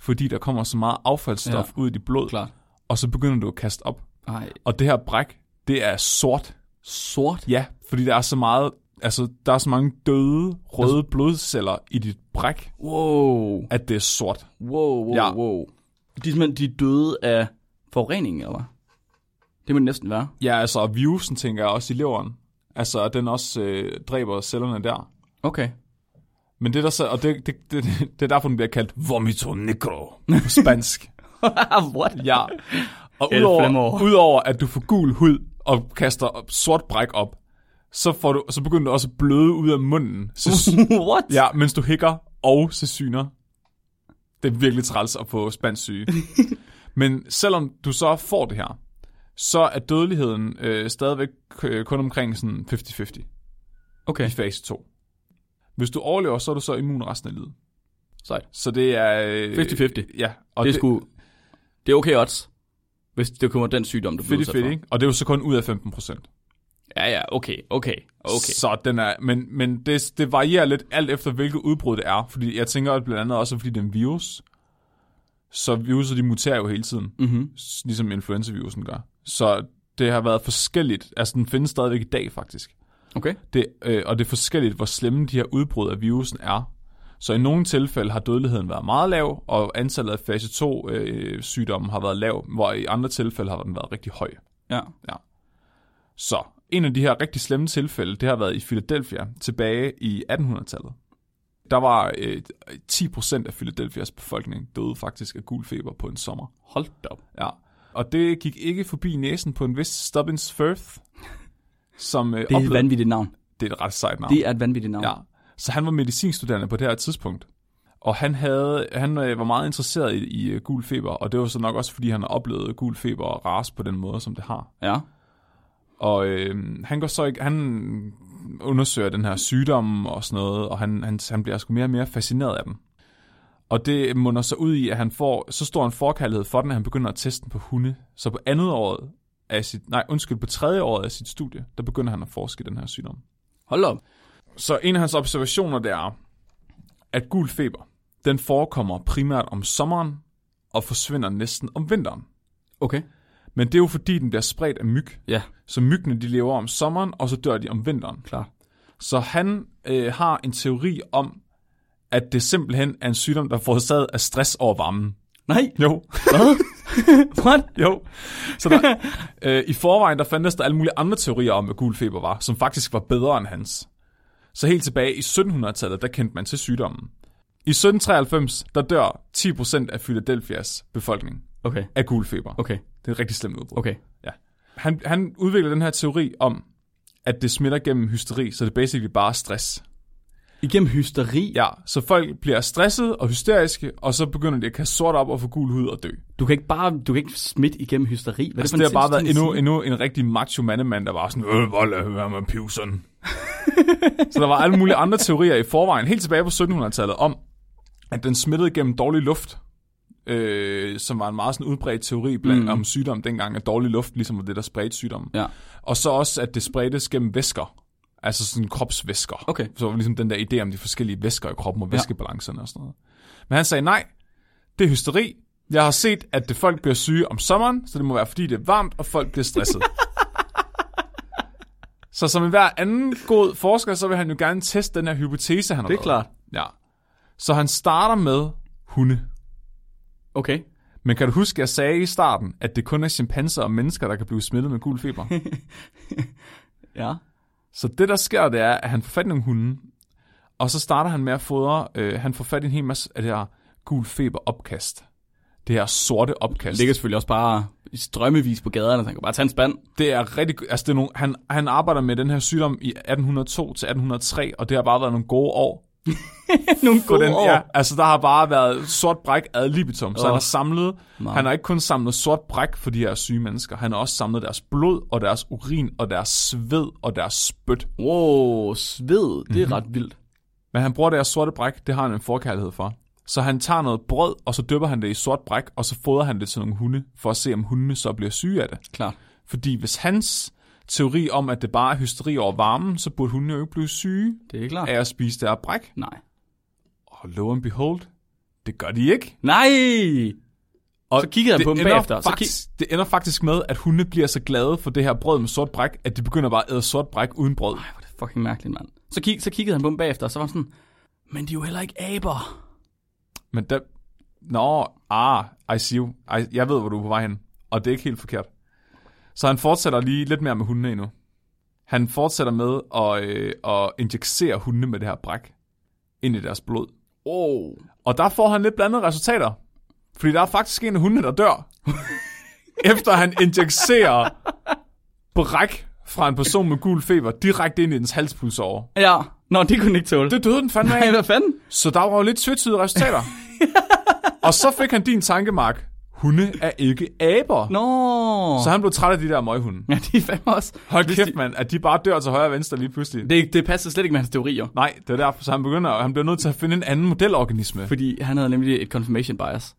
B: fordi der kommer så meget affaldsstof ja, ud i dit blod.
A: klart.
B: Og så begynder du at kaste op.
A: Ej,
B: Og det her bræk, det er sort.
A: sort?
B: Ja, fordi der er så meget, altså der er så mange døde røde blodceller i dit bræk,
A: Wow.
B: at det er sort.
A: Wow, wow,
B: Ja.
A: ja. wow. De er simpelthen de er døde af forurening, eller hvad? Det må det næsten være.
B: Ja, altså og virusen tænker jeg også i leveren. Altså at den også øh, dræber cellerne der.
A: Okay.
B: Men det der så, og det, det, (laughs) det, det er derfor den bliver kaldt vomito negro på spansk.
A: (laughs) What?
B: ja. Og
A: El
B: udover,
A: Flamor.
B: udover at du får gul hud og kaster op- sort bræk op, så, får du, så begynder du også at bløde ud af munden. Så,
A: (laughs) What?
B: Ja, mens du hikker og så syner. Det er virkelig træls at få
A: (laughs)
B: spansk syge. Men selvom du så får det her, så er dødeligheden øh, stadigvæk øh, kun omkring sådan 50-50
A: Okay.
B: i fase 2. Hvis du overlever, så er du så immun resten af livet.
A: Sejt.
B: Så det er... Øh,
A: 50-50.
B: Ja. Og
A: Det er sgu... Det er okay odds, hvis det kommer den sygdom, du bliver
B: fedt,
A: udsat for.
B: fedt, ikke? Og det er jo så kun ud af 15 procent.
A: Ja, ja, okay, okay, okay.
B: Så den er, men, men det, det varierer lidt alt efter, hvilket udbrud det er. Fordi jeg tænker at blandt andet også, fordi det er en virus. Så viruset, de muterer jo hele tiden.
A: Mm-hmm.
B: s- ligesom influenzavirusen gør. Så det har været forskelligt. Altså, den findes stadigvæk i dag, faktisk.
A: Okay,
B: Det, øh, og det er forskelligt, hvor slemme de her udbrud af virusen er. Så i nogle tilfælde har dødeligheden været meget lav, og antallet af fase 2 øh, sygdomme har været lav, hvor i andre tilfælde har den været rigtig høj.
A: ja.
B: Så en af de her rigtig slemme tilfælde, det har været i Philadelphia tilbage i 1800-tallet. Der var øh, 10% af Philadelphias befolkning døde faktisk af gul feber på en sommer.
A: Hold da op.
B: Ja. Og det gik ikke forbi næsen på en vis Stubbins Firth, som øh,
A: Det er et
B: oplevede...
A: vanvittigt navn.
B: Det er et ret sejt navn.
A: Det er et vanvittigt navn.
B: Ja. Så han var medicinstuderende på det her tidspunkt. Og han, havde, han øh, var meget interesseret i, i øh, gul feber, og det var så nok også, fordi han har oplevet gul feber og ras på den måde, som det har.
A: ja.
B: Og øh, han går så ikke, han undersøger den her sygdom og sådan noget, og han, han, han bliver sgu mere og mere fascineret af den. Og det munder så ud i, at han får så stor en forkærlighed for den, at han begynder at teste den på hunde. Så på andet året af sit, nej, undskyld, på tredje året af sit studie, der begynder han at forske i den her sygdom.
A: Hold da op.
B: Så en af hans observationer, det er, at gul feber, den forekommer primært om sommeren og forsvinder næsten om vinteren.
A: Okay.
B: Men det er jo fordi, den bliver spredt af myg.
A: Ja,
B: Så myggene de lever om sommeren, og så dør de om vinteren.
A: klar.
B: Så han øh, har en teori om, at det simpelthen er en sygdom, der er forårsaget af stress over varmen.
A: Nej,
B: Jo, (laughs)
A: what?
B: jo. Så der, øh, i forvejen, der fandtes der alle mulige andre teorier om, hvad gul feber var, som faktisk var bedre end hans. Så helt tilbage i 1700-tallet, der kendte man til sygdommen. I 1793, der dør 10% af Philadelphias befolkning
A: Okay,
B: af gul feber.
A: okay,
B: Det er et rigtig slemt udbrud.
A: okay.
B: Han, han udvikler den her teori om, at det smitter gennem hysteri, så det er basically bare stress.
A: Igennem hysteri.
B: Ja, så folk bliver stresset og hysteriske, og så begynder de at kaste sort op og få gul hud og dø.
A: Du kan ikke bare du kan ikke smitte igennem hysteri. Hvad er
B: Altså,
A: for en
B: det har bare været
A: sindssyg
B: endnu,
A: ting
B: endnu en rigtig macho mandemand, der var sådan, øh, vold at høre med pivsen. (laughs) så der var alle mulige andre teorier i forvejen, helt tilbage på 1700-tallet, om, at den smittede gennem dårlig luft. Øh, som var en meget sådan udbredt teori blandt mm. om sygdom dengang, at dårlig luft ligesom var det, der spredte sygdommen.
A: at sige? Ja,
B: Og så også, at det spredtes gennem væsker. Altså sådan kropsvæsker.
A: Okay.
B: Så var det ligesom den der idé om de forskellige væsker i kroppen og væskebalancerne og sådan noget. Men han sagde, nej, det er hysteri. Jeg har set, at det folk bliver syge om sommeren, så det må være, fordi det er varmt, og folk bliver
A: (laughs)
B: stresset. så som enhver anden god forsker, så vil han jo gerne teste den her hypotese, han har
A: det er
B: lavet.
A: klart.
B: Ja. Så han starter med hunde.
A: Okay.
B: Men kan du huske, jeg sagde i starten, at det kun er chimpanser og mennesker, der kan blive smittet med gul feber?
A: Ja.
B: Så det, der sker, det er, at han får fat i nogle hunde, og så starter han med at fodre, øh, han får fat i en hel masse af det her gul feber opkast. det her sorte opkast.
A: Det ligger selvfølgelig også bare i strømmevis på gaderne, så han kan bare tage en spand.
B: Det er rigtig... Altså, det er nogle, han, han arbejder med den her sygdom i 1802 til 1803, og det har bare været nogle gode år.
A: Nogle
B: For den, ja, altså, der har bare været sort bræk ad libitum, så
A: Åh.
B: han har samlet...
A: Nej.
B: Han har ikke kun samlet sort bræk for de her syge mennesker, han har også samlet deres blod, og deres urin, og deres sved, og deres spyt.
A: Wow, sved. Det er
B: Mhm.
A: mm-hmm. ret vildt.
B: Men han bruger det her sorte bræk, det har han en forkærlighed for. Så han tager noget brød, og så dypper han det i sort bræk, og så fodrer han det til nogle hunde, for at se, om hundene så bliver syge af det.
A: Klart.
B: Fordi hvis hans teori om, at det bare er hysteri over varmen, så burde hundene jo ikke blive syge
A: Det er klart. Ja.
B: af at spise det her bræk.
A: Nej.
B: Og lo and behold, det gør de ikke.
A: Nej! Og så kiggede han
B: Det
A: på dem
B: ender,
A: bagefter. Så
B: faktisk, så det ender faktisk med, at hunde bliver så glade for det her brød med sort bræk, at de begynder bare at æde sort bræk uden brød.
A: Ej, hvor er det fucking mærkeligt, mand. Så, kig, så kiggede han på dem bagefter, og så var han sådan, men de er jo heller ikke aber.
B: Men der... Nå, ah, I see you. I, jeg ved, hvor du er på vej hen. Og det er ikke helt forkert. Så han fortsætter lige lidt mere med hundene endnu. Han fortsætter med at, øh, at injicere hundene med det her bræk ind i deres blod.
A: Wow.
B: Og der får han lidt blandede resultater. Fordi der er faktisk en af hundene, der (laughs) dør. efter han injicerer bræk fra en person med gul feber direkte ind i dens halspulsover.
A: Ja, nå, det kunne han ikke tåle. Det...
B: Det døde den fandme af.
A: Hey, hvad fanden?
B: Så der var jo lidt tvetydige (laughs) resultater. og så fik han din tankemark. Hunde er ikke aber.
A: Nå.
B: Så han blev træt af de der møghunde.
A: Ja, det er fandme også.
B: Hold kæft, mand, at de bare dør til højre og venstre lige pludselig.
A: Det, det passer slet ikke med hans teorier.
B: Nej, det er derfor, så han begynder, han bliver nødt til at finde en anden modelorganisme.
A: Fordi han havde nemlig et confirmation bias.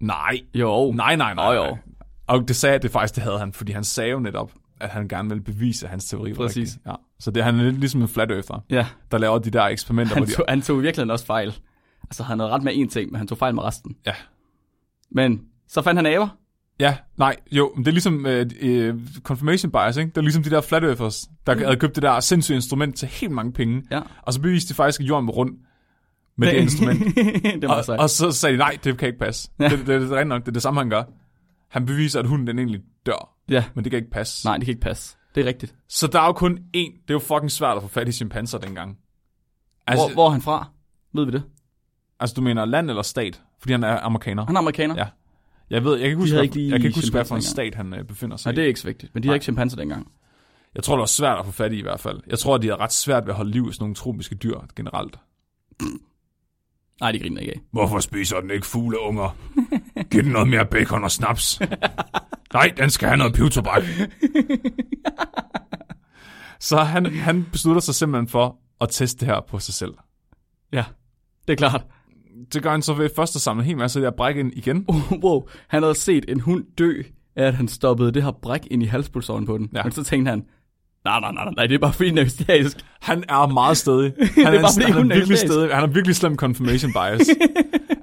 B: Nej,
A: Jo.
B: nej, nej, nej.
A: Nå, jo.
B: nej. Og det sagde, det faktisk det havde han, fordi han sagde jo netop, at han gerne ville bevise, at hans teori var
A: Præcis.
B: rigtig. Ja. Så det, han er lidt ligesom en flat earther,
A: Ja,
B: der laver de der eksperimenter.
A: han
B: hvor de,
A: tog, han tog i virkeligheden også fejl. Altså, han havde ret med én ting, men han tog fejl med resten.
B: ja.
A: Men så fandt han aber.
B: Ja, nej, jo, men det er ligesom øh, øh, confirmation bias, ikke? Det er ligesom de der flat earthers, der havde købt det der sindssyge instrument til helt mange penge,
A: Mm. Ja.
B: og så beviste de faktisk, at jorden var rund med det, det instrument.
A: (laughs) det var
B: Og,
A: sejt.
B: og så sagde de, nej, det kan ikke passe. Ja. Det, det, det, det er rent nok, det er det samme, han gør. Han beviser, at hunden den egentlig dør,
A: Ja.
B: men det kan ikke passe.
A: Nej, det kan ikke passe. Det er rigtigt.
B: Så der er jo kun én, det er jo fucking svært at få fat i chimpanser dengang. Altså,
A: Hvor, hvor er han fra? Ved vi det?
B: altså du mener land eller stat? Fordi han er amerikaner.
A: Han er amerikaner.
B: Ja. Jeg ved, jeg kan ikke
A: Ah,
B: huske,
A: havde
B: hvad-
A: ikke lige
B: jeg kan ikke huske hvad for en
A: chimpanser
B: stat han øh, befinder sig
A: Nej,
B: i.
A: det er ikke så vigtigt. Men de har ikke chimpanser dengang.
B: Jeg tror, det var svært at få fat i i hvert fald. Jeg tror, de er ret svært ved at holde liv i sådan nogle tropiske dyr generelt.
A: Nej, de griner ikke af.
B: Hvorfor spiser den ikke fugleunger? Giv den noget mere bacon og snaps. Nej, den skal have noget pivtobak. (laughs) Så han, han beslutter sig simpelthen for at teste det her på sig selv.
A: Ja, det er klart.
B: Det gør han så ved først at samle en hel masse af det her bræk ind igen.
A: (laughs) wow, han havde set en hund dø af, at han stoppede det her bræk ind i halspulsåren på den.
B: Ja.
A: Ja. Men så tænkte han, nej, nej, nej, nej, nej, det er bare fordi, den er hysterisk.
B: Han er meget (laughs) stedig. Han er,
A: bare
B: en-
A: fordi
B: han
A: hun
B: er
A: er
B: virkelig
A: hysterisk.
B: stedig. Han har virkelig slem confirmation (laughs) bias.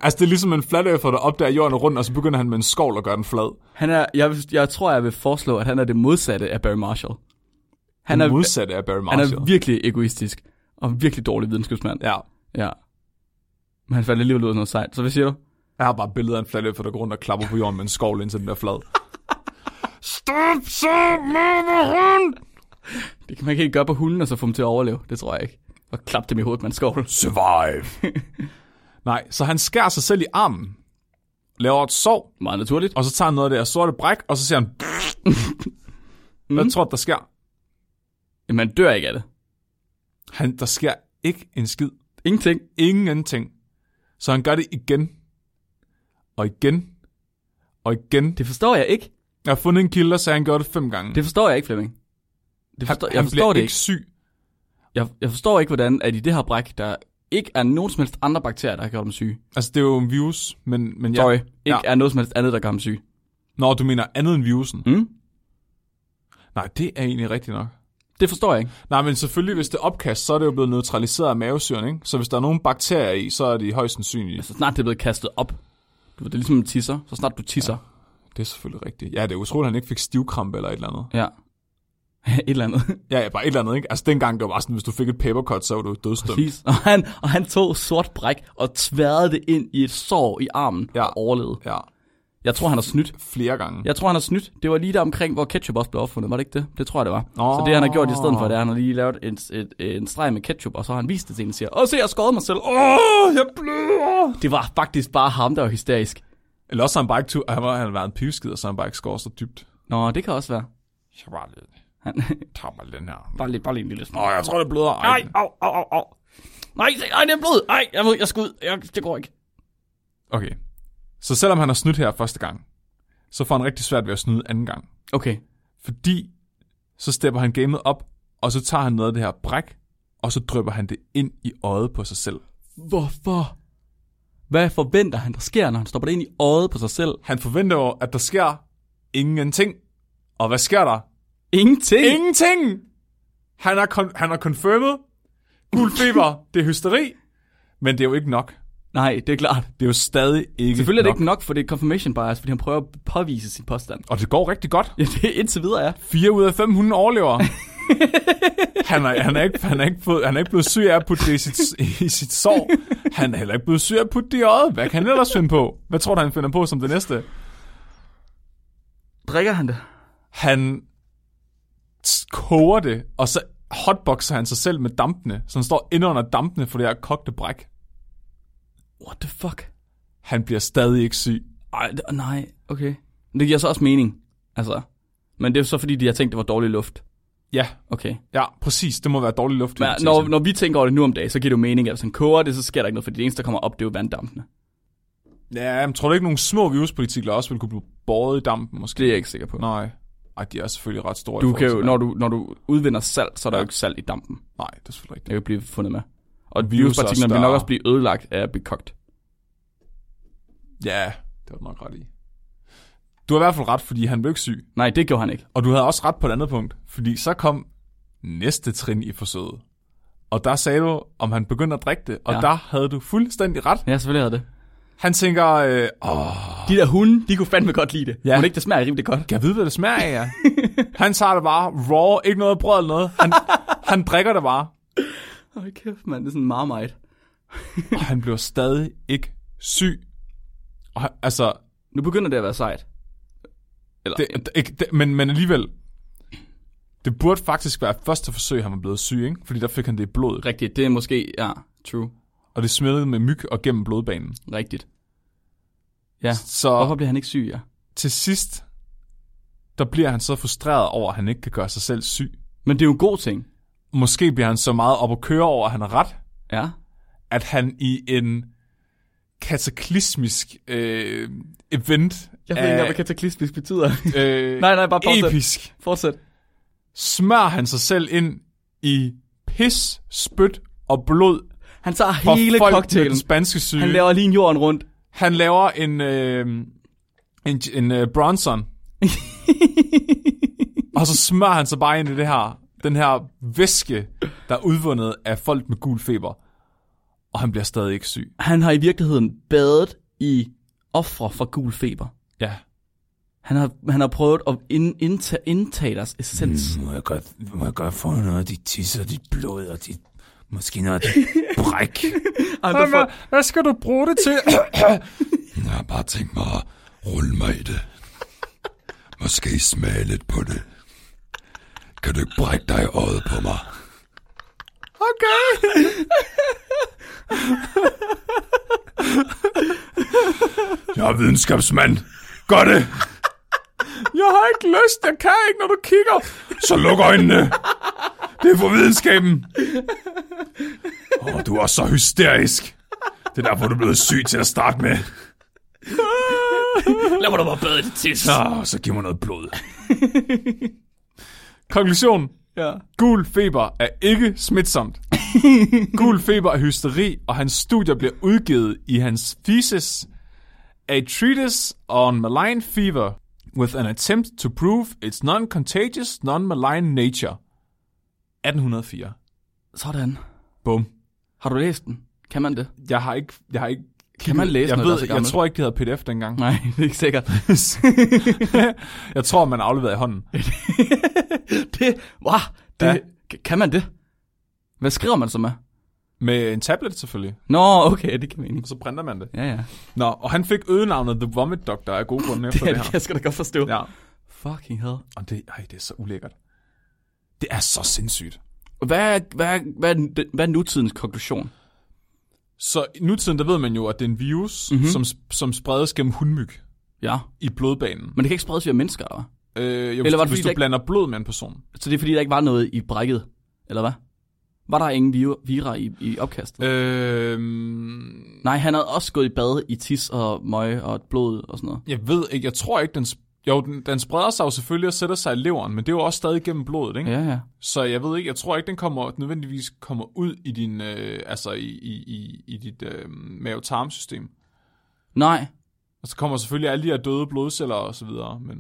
B: altså, det er ligesom en flat earther, der opdager jorden er rundt, og så begynder han med en skovl at gøre den flad.
A: Han er, jeg, vil- jeg tror, jeg vil foreslå, at han er det modsatte af Barry Marshall. Han er,
B: Den modsatte af Barry
A: han
B: Marshall.
A: er virkelig egoistisk og virkelig dårlig videnskabsmand.
B: Ja.
A: ja. Men han faldt alligevel ud af noget sejt. Så hvad siger du?
B: Jeg har bare billeder af en flat for der går rundt og klapper på jorden med en skovl, indtil den er flad. Stop så, mama hund!
A: Det kan man ikke helt gøre på hunden, og så få dem til at overleve. Det tror jeg ikke. Og klap dem i hovedet med en skovl. (laughs)
B: Survive! Nej, så han skærer sig selv i armen, laver et sår,
A: Meget naturligt.
B: og så tager han noget af det her sorte bræk, og så
A: (laughs)
B: siger han...
A: Mm.
B: Hvad tror du, der sker?
A: Men man dør ikke af det.
B: Han, der sker ikke en skid.
A: Ingenting.
B: Ingenting. Så han gør det igen. Og igen. Og igen.
A: Det forstår jeg ikke.
B: Jeg har fundet en kilde, der sagde, at han gjorde det fem gange.
A: Det forstår jeg ikke, Flemming. Det forstår,
B: han,
A: jeg
B: han
A: forstår
B: bliver
A: det
B: ikke
A: ikke.
B: syg.
A: Jeg, jeg forstår ikke, hvordan at i det her bræk, der ikke er nogen som helst andre bakterier, der har gjort dem syge.
B: Altså, det er jo en virus, men, men ja.
A: Sorry. Ikke
B: Ja.
A: er noget som helst andet, der gør dem syge.
B: Nå, du mener andet end virusen?
A: Mm?
B: Nej, det er egentlig rigtigt nok.
A: Det forstår jeg ikke.
B: Nej, men selvfølgelig, hvis det er opkast, så er det jo blevet neutraliseret af mavesyren, ikke? Så hvis der er nogen bakterier i, så er de højst sandsynlige.
A: Så snart det er blevet kastet op. Du ved, det er ligesom en tisser. Så snart du tisser.
B: Det er selvfølgelig rigtigt. Ja, det er utroligt, at han ikke fik stivkrampe eller et eller andet.
A: Ja. ja. (laughs) et eller andet.
B: Ja, ja, bare et eller andet, ikke? Altså, dengang, det var bare sådan, hvis du fik et papercut, så var du dødsdømt.
A: Præcis. Og han, og han tog sort bræk og tværede det ind i et sår i armen
B: Ja.
A: ja. og overlevede.
B: Ja.
A: Jeg tror, han har snydt.
B: flere gange.
A: Jeg tror, han har snydt. Det var lige der omkring, hvor ketchup også blev opfundet, var det ikke det? Det tror jeg, det var.
B: Nå.
A: Så det, han har gjort i stedet for, det er, at han har lige lavet en, et, en streg med ketchup, og så har han vist det til en og siger, Åh, se, jeg skåret mig selv. Åh, jeg bløder. Det var faktisk bare ham, der var hysterisk.
B: Eller også har han bare ikke... Tu- han var, han var en pivskid, og så har han bare ikke skåret så dybt.
A: Nå, det kan også være.
B: Jeg bare lidt...
A: Han,
B: Tag mig den her.
A: bare, lige, bare lige en lille smule.
B: Åh, jeg tror, det bløder. Ej.
A: Nej, au, au, au, au. Nej, se, nej, det er blod. Nej, jeg ved, jeg skal ud. Jeg, det går ikke.
B: Okay. Så selvom han har snydt her første gang, så får han rigtig svært ved at snyde anden gang.
A: Okay.
B: Fordi så stepper han gamet op, og så tager han noget af det her bræk, og så drypper han det ind i øjet på sig selv.
A: Hvorfor? Hvad forventer han, der sker, når han stopper det ind i øjet på sig selv?
B: Han forventer jo, at der sker ingenting. Og hvad sker der?
A: Ingenting.
B: Ingenting! Han har, kon- han har confirmet. Gul feber, det er hysteri. Men det er jo ikke nok.
A: Nej, det er klart.
B: Det er jo stadig ikke
A: Selvfølgelig er det
B: nok.
A: ikke nok, for det er confirmation bias, fordi han prøver at påvise sin påstand. (laughs)
B: Og det går rigtig godt.
A: Ja, det er indtil videre, ja.
B: 4 ud af 5 hunde
A: (laughs)
B: overlever. han, er, han, er ikke, han, er ikke fået, han er ikke blevet syg af at putte det i sit, i sit sår. Han er heller ikke blevet syg af at putte det i øjet. Hvad kan han ellers finde på? Hvad tror du, han finder på som det næste?
A: Drikker han det?
B: Han s- koger det, og så hotboxer han sig selv med dampene. Så han står inde under dampene for det her kogte bræk.
A: What the fuck?
B: Han bliver stadig ikke syg.
A: Ej, det, nej, okay. Men Det giver så også mening, altså. Men det er jo så fordi, de har tænkt, det var dårlig luft.
B: Ja,
A: Okay.
B: ja, præcis. Det må være dårlig luft.
A: Men når, når vi tænker over det nu om dagen, så giver det jo mening, at hvis han koger det, så sker der ikke noget, for det eneste, der kommer op, det er jo vanddampene.
B: Ja, men tror du ikke, nogle små viruspartikler også ville kunne blive båret i dampen måske?
A: Det er jeg ikke sikker på.
B: Nej. Ej, de er selvfølgelig ret store. i
A: Du
B: forhold
A: kan jo,
B: til-
A: når, du, når du udvinder salt, så er der
B: Ja.
A: jo ikke salt i dampen.
B: Nej, det er selvfølgelig rigtigt.
A: Det kan jo blive fundet med. Og
B: Virus er
A: viruspartiklerne vil nok
B: større.
A: også blive ødelagt af at blive kogt.
B: Ja, det var du nok ret i. Du har i hvert fald ret, fordi han blev ikke syg.
A: Nej, det gjorde han ikke.
B: Og du havde også ret på et andet punkt, fordi så kom næste trin i forsøget. Og der sagde du, om han begyndte at drikke det, og
A: Ja.
B: ja. der havde du fuldstændig ret.
A: Ja, selvfølgelig havde det.
B: Han tænker, øh, åh,
A: De der hunde, de kunne fandme godt lide det. Ja.
B: Ja.
A: Må det ikke, det smager rimelig godt?
B: kan jeg vide, hvad det smager af (laughs) ja? Han tager det bare raw, ikke noget brød eller noget. Han, han drikker det bare,
A: Åh, kæft, mand. Det er sådan marmite.
B: og han bliver stadig ikke syg. Og han, altså,
A: Nu begynder det at være sejt. Eller, det,
B: det, det, ikke, det, men, men alligevel, det burde faktisk være første forsøg, han var blevet syg, ikke? Fordi der fik han det i blodet.
A: rigtigt. Det er måske, ja, true.
B: og det smittede med myg og gennem blodbanen.
A: Rigtigt. Ja.
B: Så
A: Hvorfor bliver han ikke syg, ja?
B: til sidst, der bliver han så frustreret over, at han ikke kan gøre sig selv syg.
A: Men det er jo en god ting.
B: Måske bliver han så meget op at køre over, at han har ret,
A: Ja.
B: at han i en kataklysmisk øh, event
A: kataklismisk betyder.
B: øh,
A: (laughs) nej, nej, bare fortsæt.
B: episk,
A: Fortsæt.
B: smører han sig selv ind i pis, spyt og blod
A: Han tager
B: fra
A: hele
B: folk med
A: cocktailen.
B: den spanske syge.
A: Han laver lige en jorden rundt.
B: han laver en, øh, en, en øh,
A: (laughs)
B: Bronson. og så smører han sig bare ind i det her, den her væske, der er udvundet af folk med gul feber. Og han bliver stadig ikke syg.
A: Han har i virkeligheden badet i ofre for gul feber.
B: Ja.
A: Han har, han har prøvet at ind, indtage, indtage deres essens.
C: Må jeg godt, må jeg godt få noget af dit tisse og dit blod og dit... Måske noget af dit bræk.
A: Ej, han bliver for,
B: hvad skal du bruge det til?
C: (coughs) Jeg har bare tænkt mig at rulle mig i det. Måske smage lidt på det. Kan du ikke brække dig i øjet på mig?
B: Okay.
C: (laughs) Jeg er videnskabsmand. Gør det!
B: Jeg har ikke lyst. Jeg kan ikke, når du kigger.
C: Så luk øjnene. Det er for videnskaben. Åh, du er også så hysterisk. Det er derfor, du er blevet syg til at starte med.
A: lad mig da bare bade i det tis.
C: Nå, så giv mig noget blod.
B: Konklusion.
A: Ja.
B: Gul feber er ikke smitsomt. Gul feber er hysteri, og hans studier bliver udgivet i hans thesis A Treatise on Malign Fever with an attempt to prove its non-contagious, non-malign nature. 1804.
A: Sådan.
B: Bum.
A: Har du læst den? Kan man det?
B: Jeg har ikke... Jeg har ikke
A: Kan man læse
B: jeg
A: noget, der er så
B: ved, Jeg
A: gammelt?
B: tror ikke, det hedder pdf dengang.
A: Nej, (laughs) det er ikke sikkert.
B: (laughs) jeg tror, man afleverede i hånden.
A: det, wow, det,
B: Ja.
A: ja. kan man det? Hvad skriver man så med?
B: Med en tablet selvfølgelig.
A: Nå, okay, det kan man
B: Og
A: ikke.
B: så printer man det.
A: Ja, ja.
B: Nå, og han fik øgenavnet The Vomit Doctor af gode grunde
A: Det,
B: efter
A: her,
B: det,
A: det
B: det
A: kan
B: her.
A: jeg sgu da godt forstå. Ja.
B: Ja.
A: Fucking hell.
B: Og det, ej, det er så ulækkert. Det er så sindssygt.
A: Hvad er, hvad, er, hvad, er, den- hvad er nutidens konklusion?
B: Så i nutiden, der ved man jo, at det er en virus,
A: Mhm.
B: mm-hmm. som, som spredes gennem hundmyg
A: Ja,
B: i blodbanen.
A: men det kan ikke spredes via mennesker, eller? hvad?
B: Øh, jo,
A: Eller
B: Eller
A: var
B: var
A: det
B: hvis
A: fordi,
B: du
A: der ikke-
B: blander blod med en person.
A: Så det er fordi, der ikke var noget i brækket, eller hvad? Var der ingen vir- vira i, i opkastet?
B: Øh,
A: Nej, han havde også gået i bad i tis og møg og blod og sådan noget.
B: jeg ved ikke, jeg tror ikke, den... sp- Jo, den, den spreder sig jo selvfølgelig og sætter sig i leveren, men det er jo også stadig gennem blodet, ikke?
A: Ja, ja.
B: Så jeg ved ikke, jeg tror ikke, den kommer nødvendigvis kommer ud i din, øh, altså i, i, i, i dit øh, mave-tarmsystem.
A: Nej.
B: Og så kommer selvfølgelig alle de her døde blodceller og så videre, men...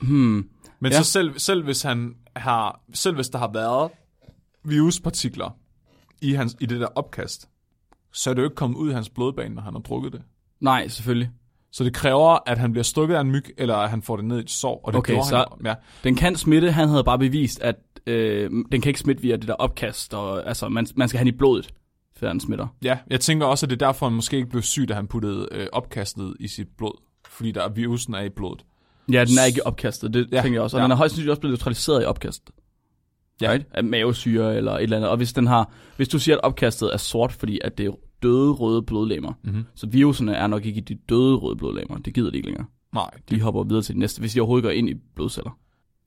A: Hmm.
B: Men
A: Ja.
B: ja. så selv, selv, hvis han har, selv hvis der har været viruspartikler i, hans, i det der opkast, så er det jo ikke kommet ud i hans blodbane, når han har drukket det.
A: Nej, selvfølgelig.
B: Så det kræver, at han bliver stukket af en myg, eller at han får det ned i et sår. Og det
A: Okay,
B: gjorde
A: så-
B: han, ja.
A: Den kan smitte, han havde bare bevist, at øh, den kan ikke smitte via det der opkast, og altså, man, man skal have den i blodet, før den smitter.
B: ja, jeg tænker også, at det er derfor, han måske ikke blev syg, da han puttede øh, opkastet i sit blod. Fordi der er virusen er i blodet.
A: Ja, den er ikke i opkastet, det ja,
B: Ja,
A: tænker jeg også. Og ja.
B: ja.
A: den er højst sandsynligt også blevet neutraliseret i opkastet.
B: Ja.
A: Right? Af mavesyre eller et eller andet. Og hvis, den har, hvis du siger, at opkastet er sort, fordi at det er døde røde blodlemmer, mm-hmm. så viruserne er nok ikke i de døde røde blodlemmer. Det gider de ikke længere.
B: Nej,
A: De hopper videre til det næste, hvis de overhovedet går ind i blodceller.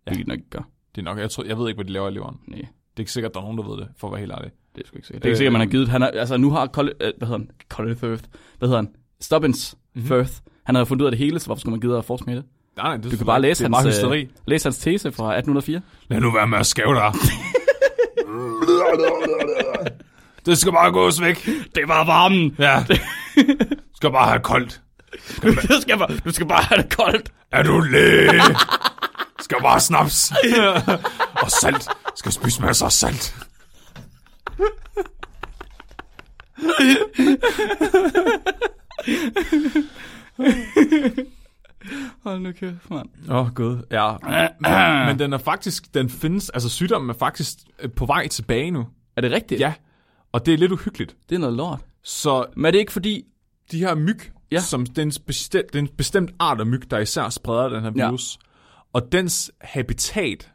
A: Ja.
B: Ja.
A: Hvilket de nok ikke gør.
B: det er nok, jeg, tror, jeg ved ikke, hvad de laver i leveren.
A: Nej,
B: Det er ikke sikkert, at der er nogen, der ved det, for at være helt ærlig.
A: det er sgu ikke sikkert. Det er ikke sikkert, man har givet. Han er, altså, nu har Colin, øh, hvad hedder han? Colin Firth. Hvad hedder han? Stubbins mm-hmm. Firth. Han havde fundet ud af det hele, så hvorfor skulle man gide at forske med det?
B: Nej, nej, det
A: Du
B: er
A: kan
B: selvfølgelig-
A: bare læse,
B: det er meget
A: hans,
B: hysteri.
A: øh, læse hans tese fra 1804.
B: Lad nu være med at skæve
A: (laughs)
B: dig. det skal bare gås væk.
A: Det var varmen.
B: Ja. Du skal bare have koldt.
A: (laughs) du, skal bare, du skal bare have det koldt.
B: Er du
A: (laughs)
B: læge? Skal bare snaps. og salt. Skal spise masser af salt.
A: Hold nu kæft, mand.
B: Åh, oh, gud. Ja. (clears throat) Men den er faktisk, den findes, altså sygdommen er faktisk øh, på vej tilbage nu.
A: Er det rigtigt?
B: Ja. Og det er lidt uhyggeligt.
A: Det er noget lort.
B: Så
A: Men er det ikke fordi...
B: de her myg,
A: Ja.
B: ja. som det er, en bestemt, det er en bestemt art af myg, der især spreder den her
A: Ja.
B: virus. Og dens habitat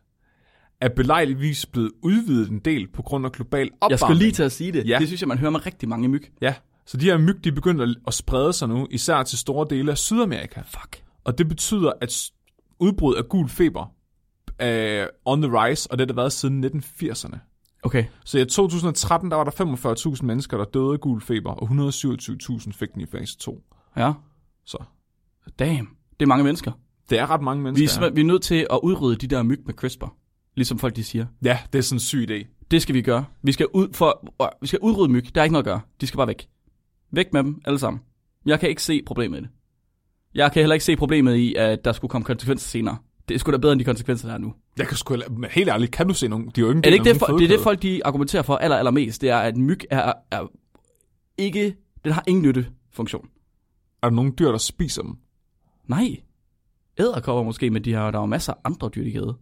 B: er belejligvis blevet udvidet en del på grund af global opvarmning.
A: Jeg skulle lige til at sige det.
B: Ja.
A: Det synes jeg, man hører med rigtig mange myg.
B: Ja, så de her myg, de er begyndt at- at sprede sig nu, især til store dele af Sydamerika.
A: Fuck.
B: Og det betyder, at s- udbrud af gul feber er on the rise, og det har det været siden 1980'erne.
A: Okay.
B: Så i 2013, der var der 45.000 mennesker, der døde af gul feber, og 127.000 fik den i fase 2.
A: Ja.
B: Så
A: Damn. Det er mange mennesker.
B: det er ret mange
A: Vi er,
B: mennesker.
A: simpelthen- vi er nødt til at udrydde de der myg med CRISPR. Ligesom folk de siger.
B: Ja, det er sådan en syg idé.
A: Det skal vi gøre. Vi skal, ud for, øh, vi skal udrydde myg. Der er ikke noget at gøre. De skal bare væk. Væk med dem alle sammen. Jeg kan ikke se problemet i det. Jeg kan heller ikke se problemet i, at der skulle komme konsekvenser senere. Det er sgu da bedre end de konsekvenser, der er nu.
B: Jeg kan sgu heller- men helt ærligt, kan du se nogen? De er jo ikke
A: Er det ikke det,
B: for,
A: for, det, er det folk de argumenterer for aller, allermest? Det er, at myg er, er ikke... Den har ingen nyttefunktion.
B: Er der nogen dyr, der spiser dem?
A: Nej. Æderkopper måske, men de har, der er jo masser af andre dyr, de kan æde.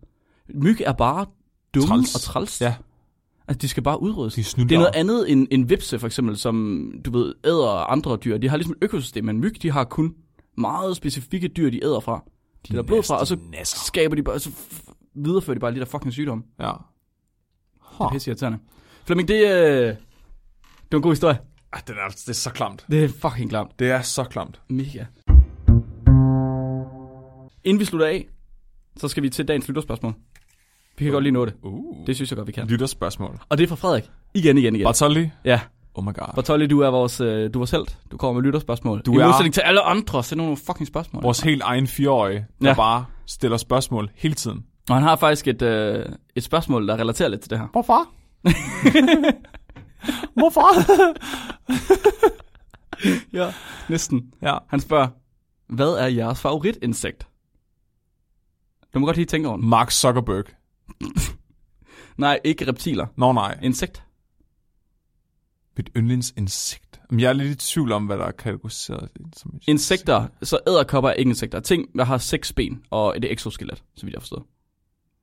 A: Myg er bare dumme
B: Træls.
A: og træls.
B: Ja.
A: Altså, de skal bare udryddes.
B: De er snyldere.
A: det er noget andet end en vipse, for eksempel, som, du ved, æder andre dyr. De har ligesom et økosystem, men myg, de har kun meget specifikke dyr, de æder fra. De der blod fra, og så
B: Nasser.
A: skaber de bare, så f- viderefører de bare lige der fucking sygdom.
B: Ja.
A: Det er pisse irriterende. Flemming, det, øh, det var en god historie.
B: Ah, den er, det er så klamt.
A: Det er fucking klamt.
B: Det er så klamt.
A: Mega. Inden vi slutter af, så skal vi til dagens lytterspørgsmål. Vi kan godt lige nå det.
B: Uh.
A: Det synes jeg godt, vi kan.
B: Lytterspørgsmål.
A: Og det er fra Frederik. Igen, igen, igen.
B: Bartoli?
A: Ja.
B: Oh my god.
A: Bartoli, du er vores, øh, du er vores held. Du kommer med lytterspørgsmål. Du I
B: er-
A: modsætning til alle andre, send nogle fucking spørgsmål.
B: Vores helt egen fireårige, der
A: Ja.
B: ja. bare stiller spørgsmål hele tiden.
A: Og han har faktisk et, øh, et spørgsmål, der relaterer lidt til det her. (laughs)
B: Hvorfor? Hvorfor?
A: Ja, næsten.
B: ja.
A: Han spørger, hvad er jeres favoritinsekt? Du må godt lige tænke over den.
B: Mark Zuckerberg.
A: Nej, ikke reptiler.
B: Nå nej.
A: Insekt.
B: Mit yndlingsinsekt. Men jeg er lidt i tvivl om, hvad der er kategoriseret som et (laughs)
A: Insekter, så æderkopper er ikke insekter. Ting, der har seks ben og et exoskelet, så vidt jeg forstår.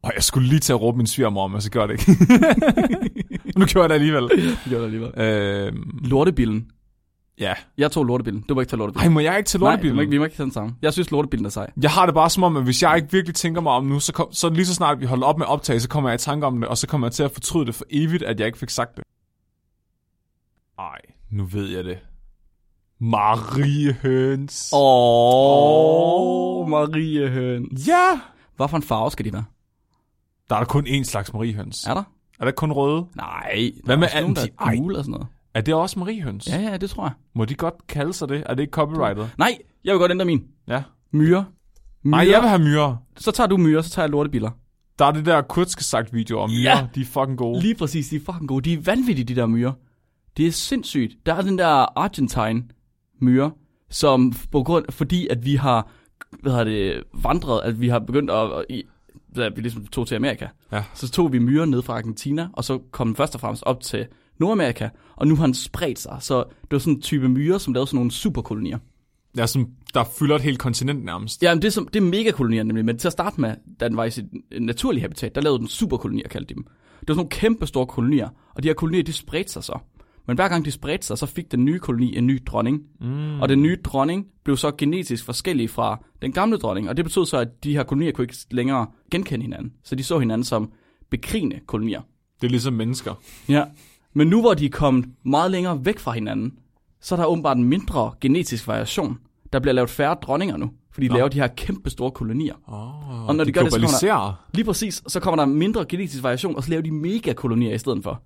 B: Og jeg skulle lige til at råbe min svigermor om, og så gør det ikke. (laughs) nu gjorde jeg det alligevel.
A: Det gjorde det alligevel.
B: Øhm,
A: Lortebilen.
B: ja.
A: Jeg tog lortebilen. Du må ikke tage lortebilen.
B: Ej, må jeg ikke til
A: Nej, du
B: lortebilen?
A: må ikke, vi må ikke tage den samme. Jeg synes, lortebilen er sej.
B: Jeg har det bare som om, at hvis jeg ikke virkelig tænker mig om nu, så, kom, så lige så snart vi holder op med at optage, så kommer jeg i tanke om det, og så kommer jeg til at fortryde det for evigt, at jeg ikke fik sagt det. Ej, nu ved jeg det. Marie Høns.
A: Åh, oh, Marie Høn.
B: Ja!
A: Hvad for en farve skal de være?
B: Der er da kun én slags Marie Høns.
A: Er der?
B: Er der kun røde?
A: Nej. der
B: Hvad
A: er
B: med
A: også nogen, der
B: anti-
A: er gule og sådan noget.
B: Er det også Marie Høns?
A: Ja, ja, det tror jeg.
B: Må de godt kalde sig det? Er det ikke copyrightet?
A: Nej, jeg vil godt ændre min.
B: Ja.
A: Myre.
B: Nej, jeg vil have myrer.
A: Så tager du myre, så tager jeg lortebiler.
B: Der er det der kurtske sagt video om myrer. De er fucking gode.
A: Lige præcis, de er fucking gode. De er vanvittige, de der myrer. Det er sindssygt. Der er den der Argentine myre, som på grund, fordi at vi har hvad hedder det, vandret, at vi har begyndt at, at i- da vi ligesom tog til Amerika,
B: Ja.
A: så tog vi myrer ned fra Argentina, og så kom den først og fremmest op til Nordamerika, og nu har den spredt sig. Så det var sådan en type myre, som lavede sådan nogle superkolonier.
B: Ja, som, der fylder et helt kontinent nærmest.
A: Ja, men det er, som, det er megakolonier nemlig, men til at starte med, da den var i sit naturlige habitat, der lavede den superkolonier, kaldte de dem. Det var sådan nogle kæmpe store kolonier, og de her kolonier, de spredte sig så. Men hver gang de spredte sig, så fik den nye koloni en ny dronning. Mm. Og den nye dronning blev så genetisk forskellig fra den gamle dronning, og det betød så, at de her kolonier kunne ikke længere genkende hinanden. Så de så hinanden som bekrigende kolonier.
B: Det er ligesom mennesker.
A: Ja. Men nu hvor de er kommet meget længere væk fra hinanden, så er der åbenbart en mindre genetisk variation. Der bliver lavet færre dronninger nu, fordi de laver de her kæmpe store kolonier.
B: Oh,
A: Og når de gør det, så kommer der-
B: globaliserer.
A: Lige præcis, så kommer der mindre genetisk variation, og så laver de megakolonier i stedet for.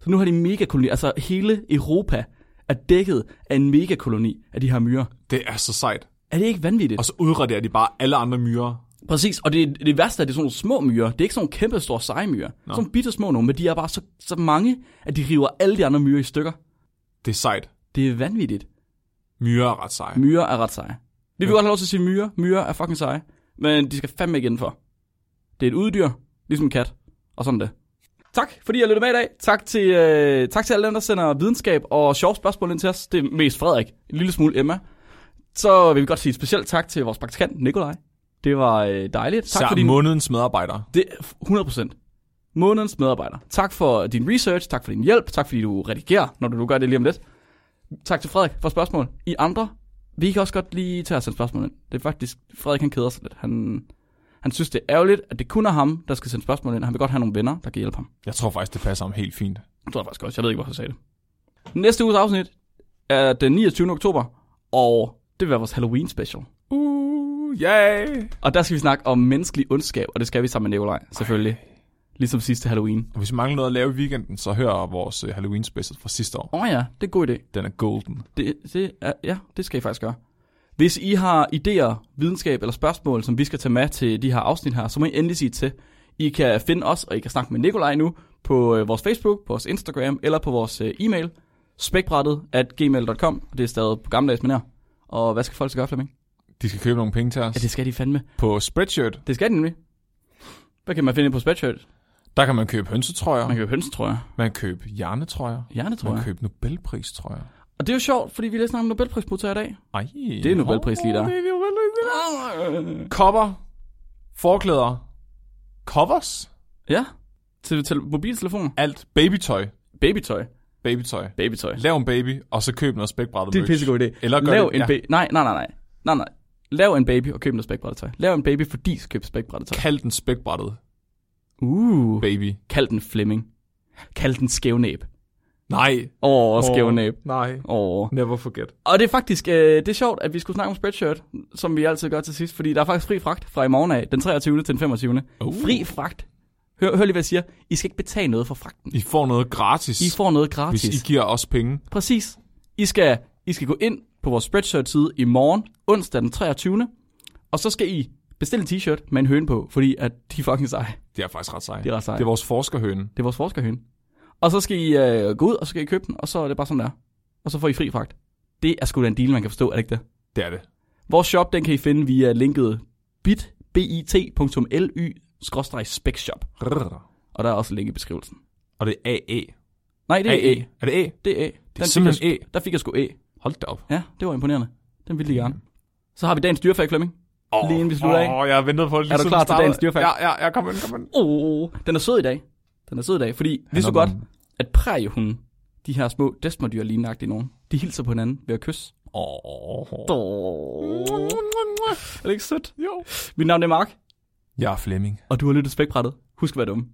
A: Så nu har de megakolonier, altså hele Europa er dækket af en megakoloni af de her myrer.
B: Det er så sejt.
A: Er det ikke vanvittigt?
B: Og så udraderer de bare alle andre myrer.
A: Præcis, og det, det værste er, at det er sådan nogle små myrer. Det er ikke sådan nogle kæmpe store seje myrer. Sådan nogle bitte små nogle, men de er bare så, så mange, at de river alle de andre myrer i stykker.
B: Det er sejt.
A: Det er vanvittigt.
B: Myrer er ret seje.
A: Myrer er ret seje. Vi vil godt have lov til at sige myrer. Myrer er fucking seje. Men de skal fandme ikke indenfor. Det er et uddyr, ligesom en kat. Og sådan er det. Tak, fordi jeg lyttede med i dag. Tak til, øh, tak til alle dem, der sender videnskab og sjove spørgsmål ind til os. Det er mest Frederik, en lille smule Emma. Så vil vi godt sige et specielt tak til vores praktikant, Nikolaj. Det var øh, dejligt. Tak
B: Især
A: for din...
B: månedens medarbejder.
A: Det er 100%. Månedens medarbejder. Tak for din research, tak for din hjælp, tak fordi du redigerer, når du nu gør det lige om lidt. Tak til Frederik for spørgsmål. I andre, vi kan også godt lige tage at sende spørgsmål ind. Det er faktisk, Frederik han keder sig lidt. Han, han synes, det er ærgerligt, at det kun er ham, der skal sende spørgsmål ind. Han vil godt have nogle venner, der kan hjælpe ham.
B: Jeg tror faktisk, det passer ham helt fint.
A: Det tror jeg faktisk også. Jeg ved ikke, hvorfor jeg sagde det. Næste uges afsnit er den 29. oktober, og det vil være vores Halloween special.
B: Uh, yay!
A: Og der skal vi snakke om menneskelig ondskab, og det skal vi sammen med Nikolaj, selvfølgelig. Ligesom sidste Halloween.
B: Og hvis I mangler noget at lave i weekenden, så hør vores øh, Halloween special fra sidste år.
A: Åh oh ja, det er en god idé.
B: Den er golden.
A: Det, det er, ja, det skal I faktisk gøre. Hvis I har idéer, videnskab eller spørgsmål, som vi skal tage med til de her afsnit her, så må I endelig sige til. I kan finde os, og I kan snakke med Nikolaj nu, på øh, vores Facebook, på vores Instagram eller på vores øh, e-mail, spækbrættet at gmail.com, og det er stadig på gammeldags manier. Og hvad skal folk så gøre, Flemming?
B: De skal købe nogle penge til os.
A: Ja, det skal de fandme.
B: På Spreadshirt,
A: Det skal de nemlig. Hvad kan man finde på Spreadshirt?
B: der kan man købe hønsetrøjer,
A: Man kan jo hønse, tror jeg.
B: man kan købe hjernetrøjer,
A: Hjerne, tror
B: man kan
A: jeg.
B: købe Nobelpristrøjer.
A: Og det er jo sjovt, fordi vi lige snakker om Nobelprismodtager i dag.
B: Ej,
A: er Nobelpris lige der.
B: Det er Nobelpris lige der. Kopper, forklæder, covers,
A: Ja, til, til mobiltelefoner.
B: alt. Babytøj,
A: Babytøj.
B: babytøj.
A: Babytøj.
B: Lav en baby, og så køb noget spækbrættet
A: Det er en
B: merch.
A: pissegod idé.
B: Eller gør
A: Lav
B: det.
A: en
B: Ja.
A: ba- nej, nej, nej, nej. Nej, nej. Lav en baby og køb noget spækbrættetøj. Lav en baby, fordi du skal købe spækbrættetøj.
B: Kald den spækbrættet
A: Uh.
B: baby.
A: Kald den Flemming. Kald den skævnæb.
B: Nej.
A: Åh, oh, skævnæb.
B: Nej.
A: Åh.
B: Never forget.
A: Og det er faktisk øh, det er sjovt, at vi skulle snakke om spreadshirt, som vi altid gør til sidst, fordi der er faktisk fri fragt fra i morgen af, den 23. til den 25.
B: Uh.
A: Fri fragt. Hør, hør lige, hvad jeg siger. I skal ikke betale noget for fragten.
B: I får noget gratis,
A: I får noget
B: hvis
A: gratis.
B: I giver os penge.
A: Præcis. I skal, I skal gå ind på vores Spreadshirt-side i morgen, onsdag den 23. Og så skal I bestille en t-shirt med en høne på, fordi at de er fucking seje.
B: Det er faktisk ret sejt.
A: Det er ret seje.
B: Det er vores forskerhøne.
A: Det er vores forskerhøne. Og så skal I øh, gå ud, og så skal I købe den, og så er det bare sådan der. Og så får I fri fragt. Det er sgu da en deal, man kan forstå, er det ikke det?
B: Det er det.
A: Vores shop, den kan I finde via linket bit.ly-specshop.
B: Rrr.
A: Og der er også et link i beskrivelsen.
B: Og det er AA.
A: Nej, det er
B: AA.
A: A.
B: Er det A?
A: Det er E. A. Den fik jeg,
B: simpelthen
A: Der fik jeg sgu A.
B: Hold da op.
A: Mm. Ja, det var imponerende. Den ville de gerne. Så har vi dagens dyrefag, Flemming. oh, lige inden vi slutter af.
B: Åh, jeg har ventet på det lige
A: Er du
B: siden
A: klar
B: den
A: til dagens
B: startede.
A: dyrfakt?
B: Ja, ja, ja, kom ind, kom ind.
A: Oh, den er sød i dag. Den er sød i dag, fordi vi så
B: om
A: godt,
B: nogen.
A: at prægehunde, de her små desmodyr lignagtige nogen, de hilser på hinanden ved at kysse.
B: Åh.
A: Oh. Er det ikke sødt?
B: Jo.
A: Mit navn er Mark,
B: Jeg er Flemming.
A: og du har lyttet til Spækbrættet. Husk at være dumme.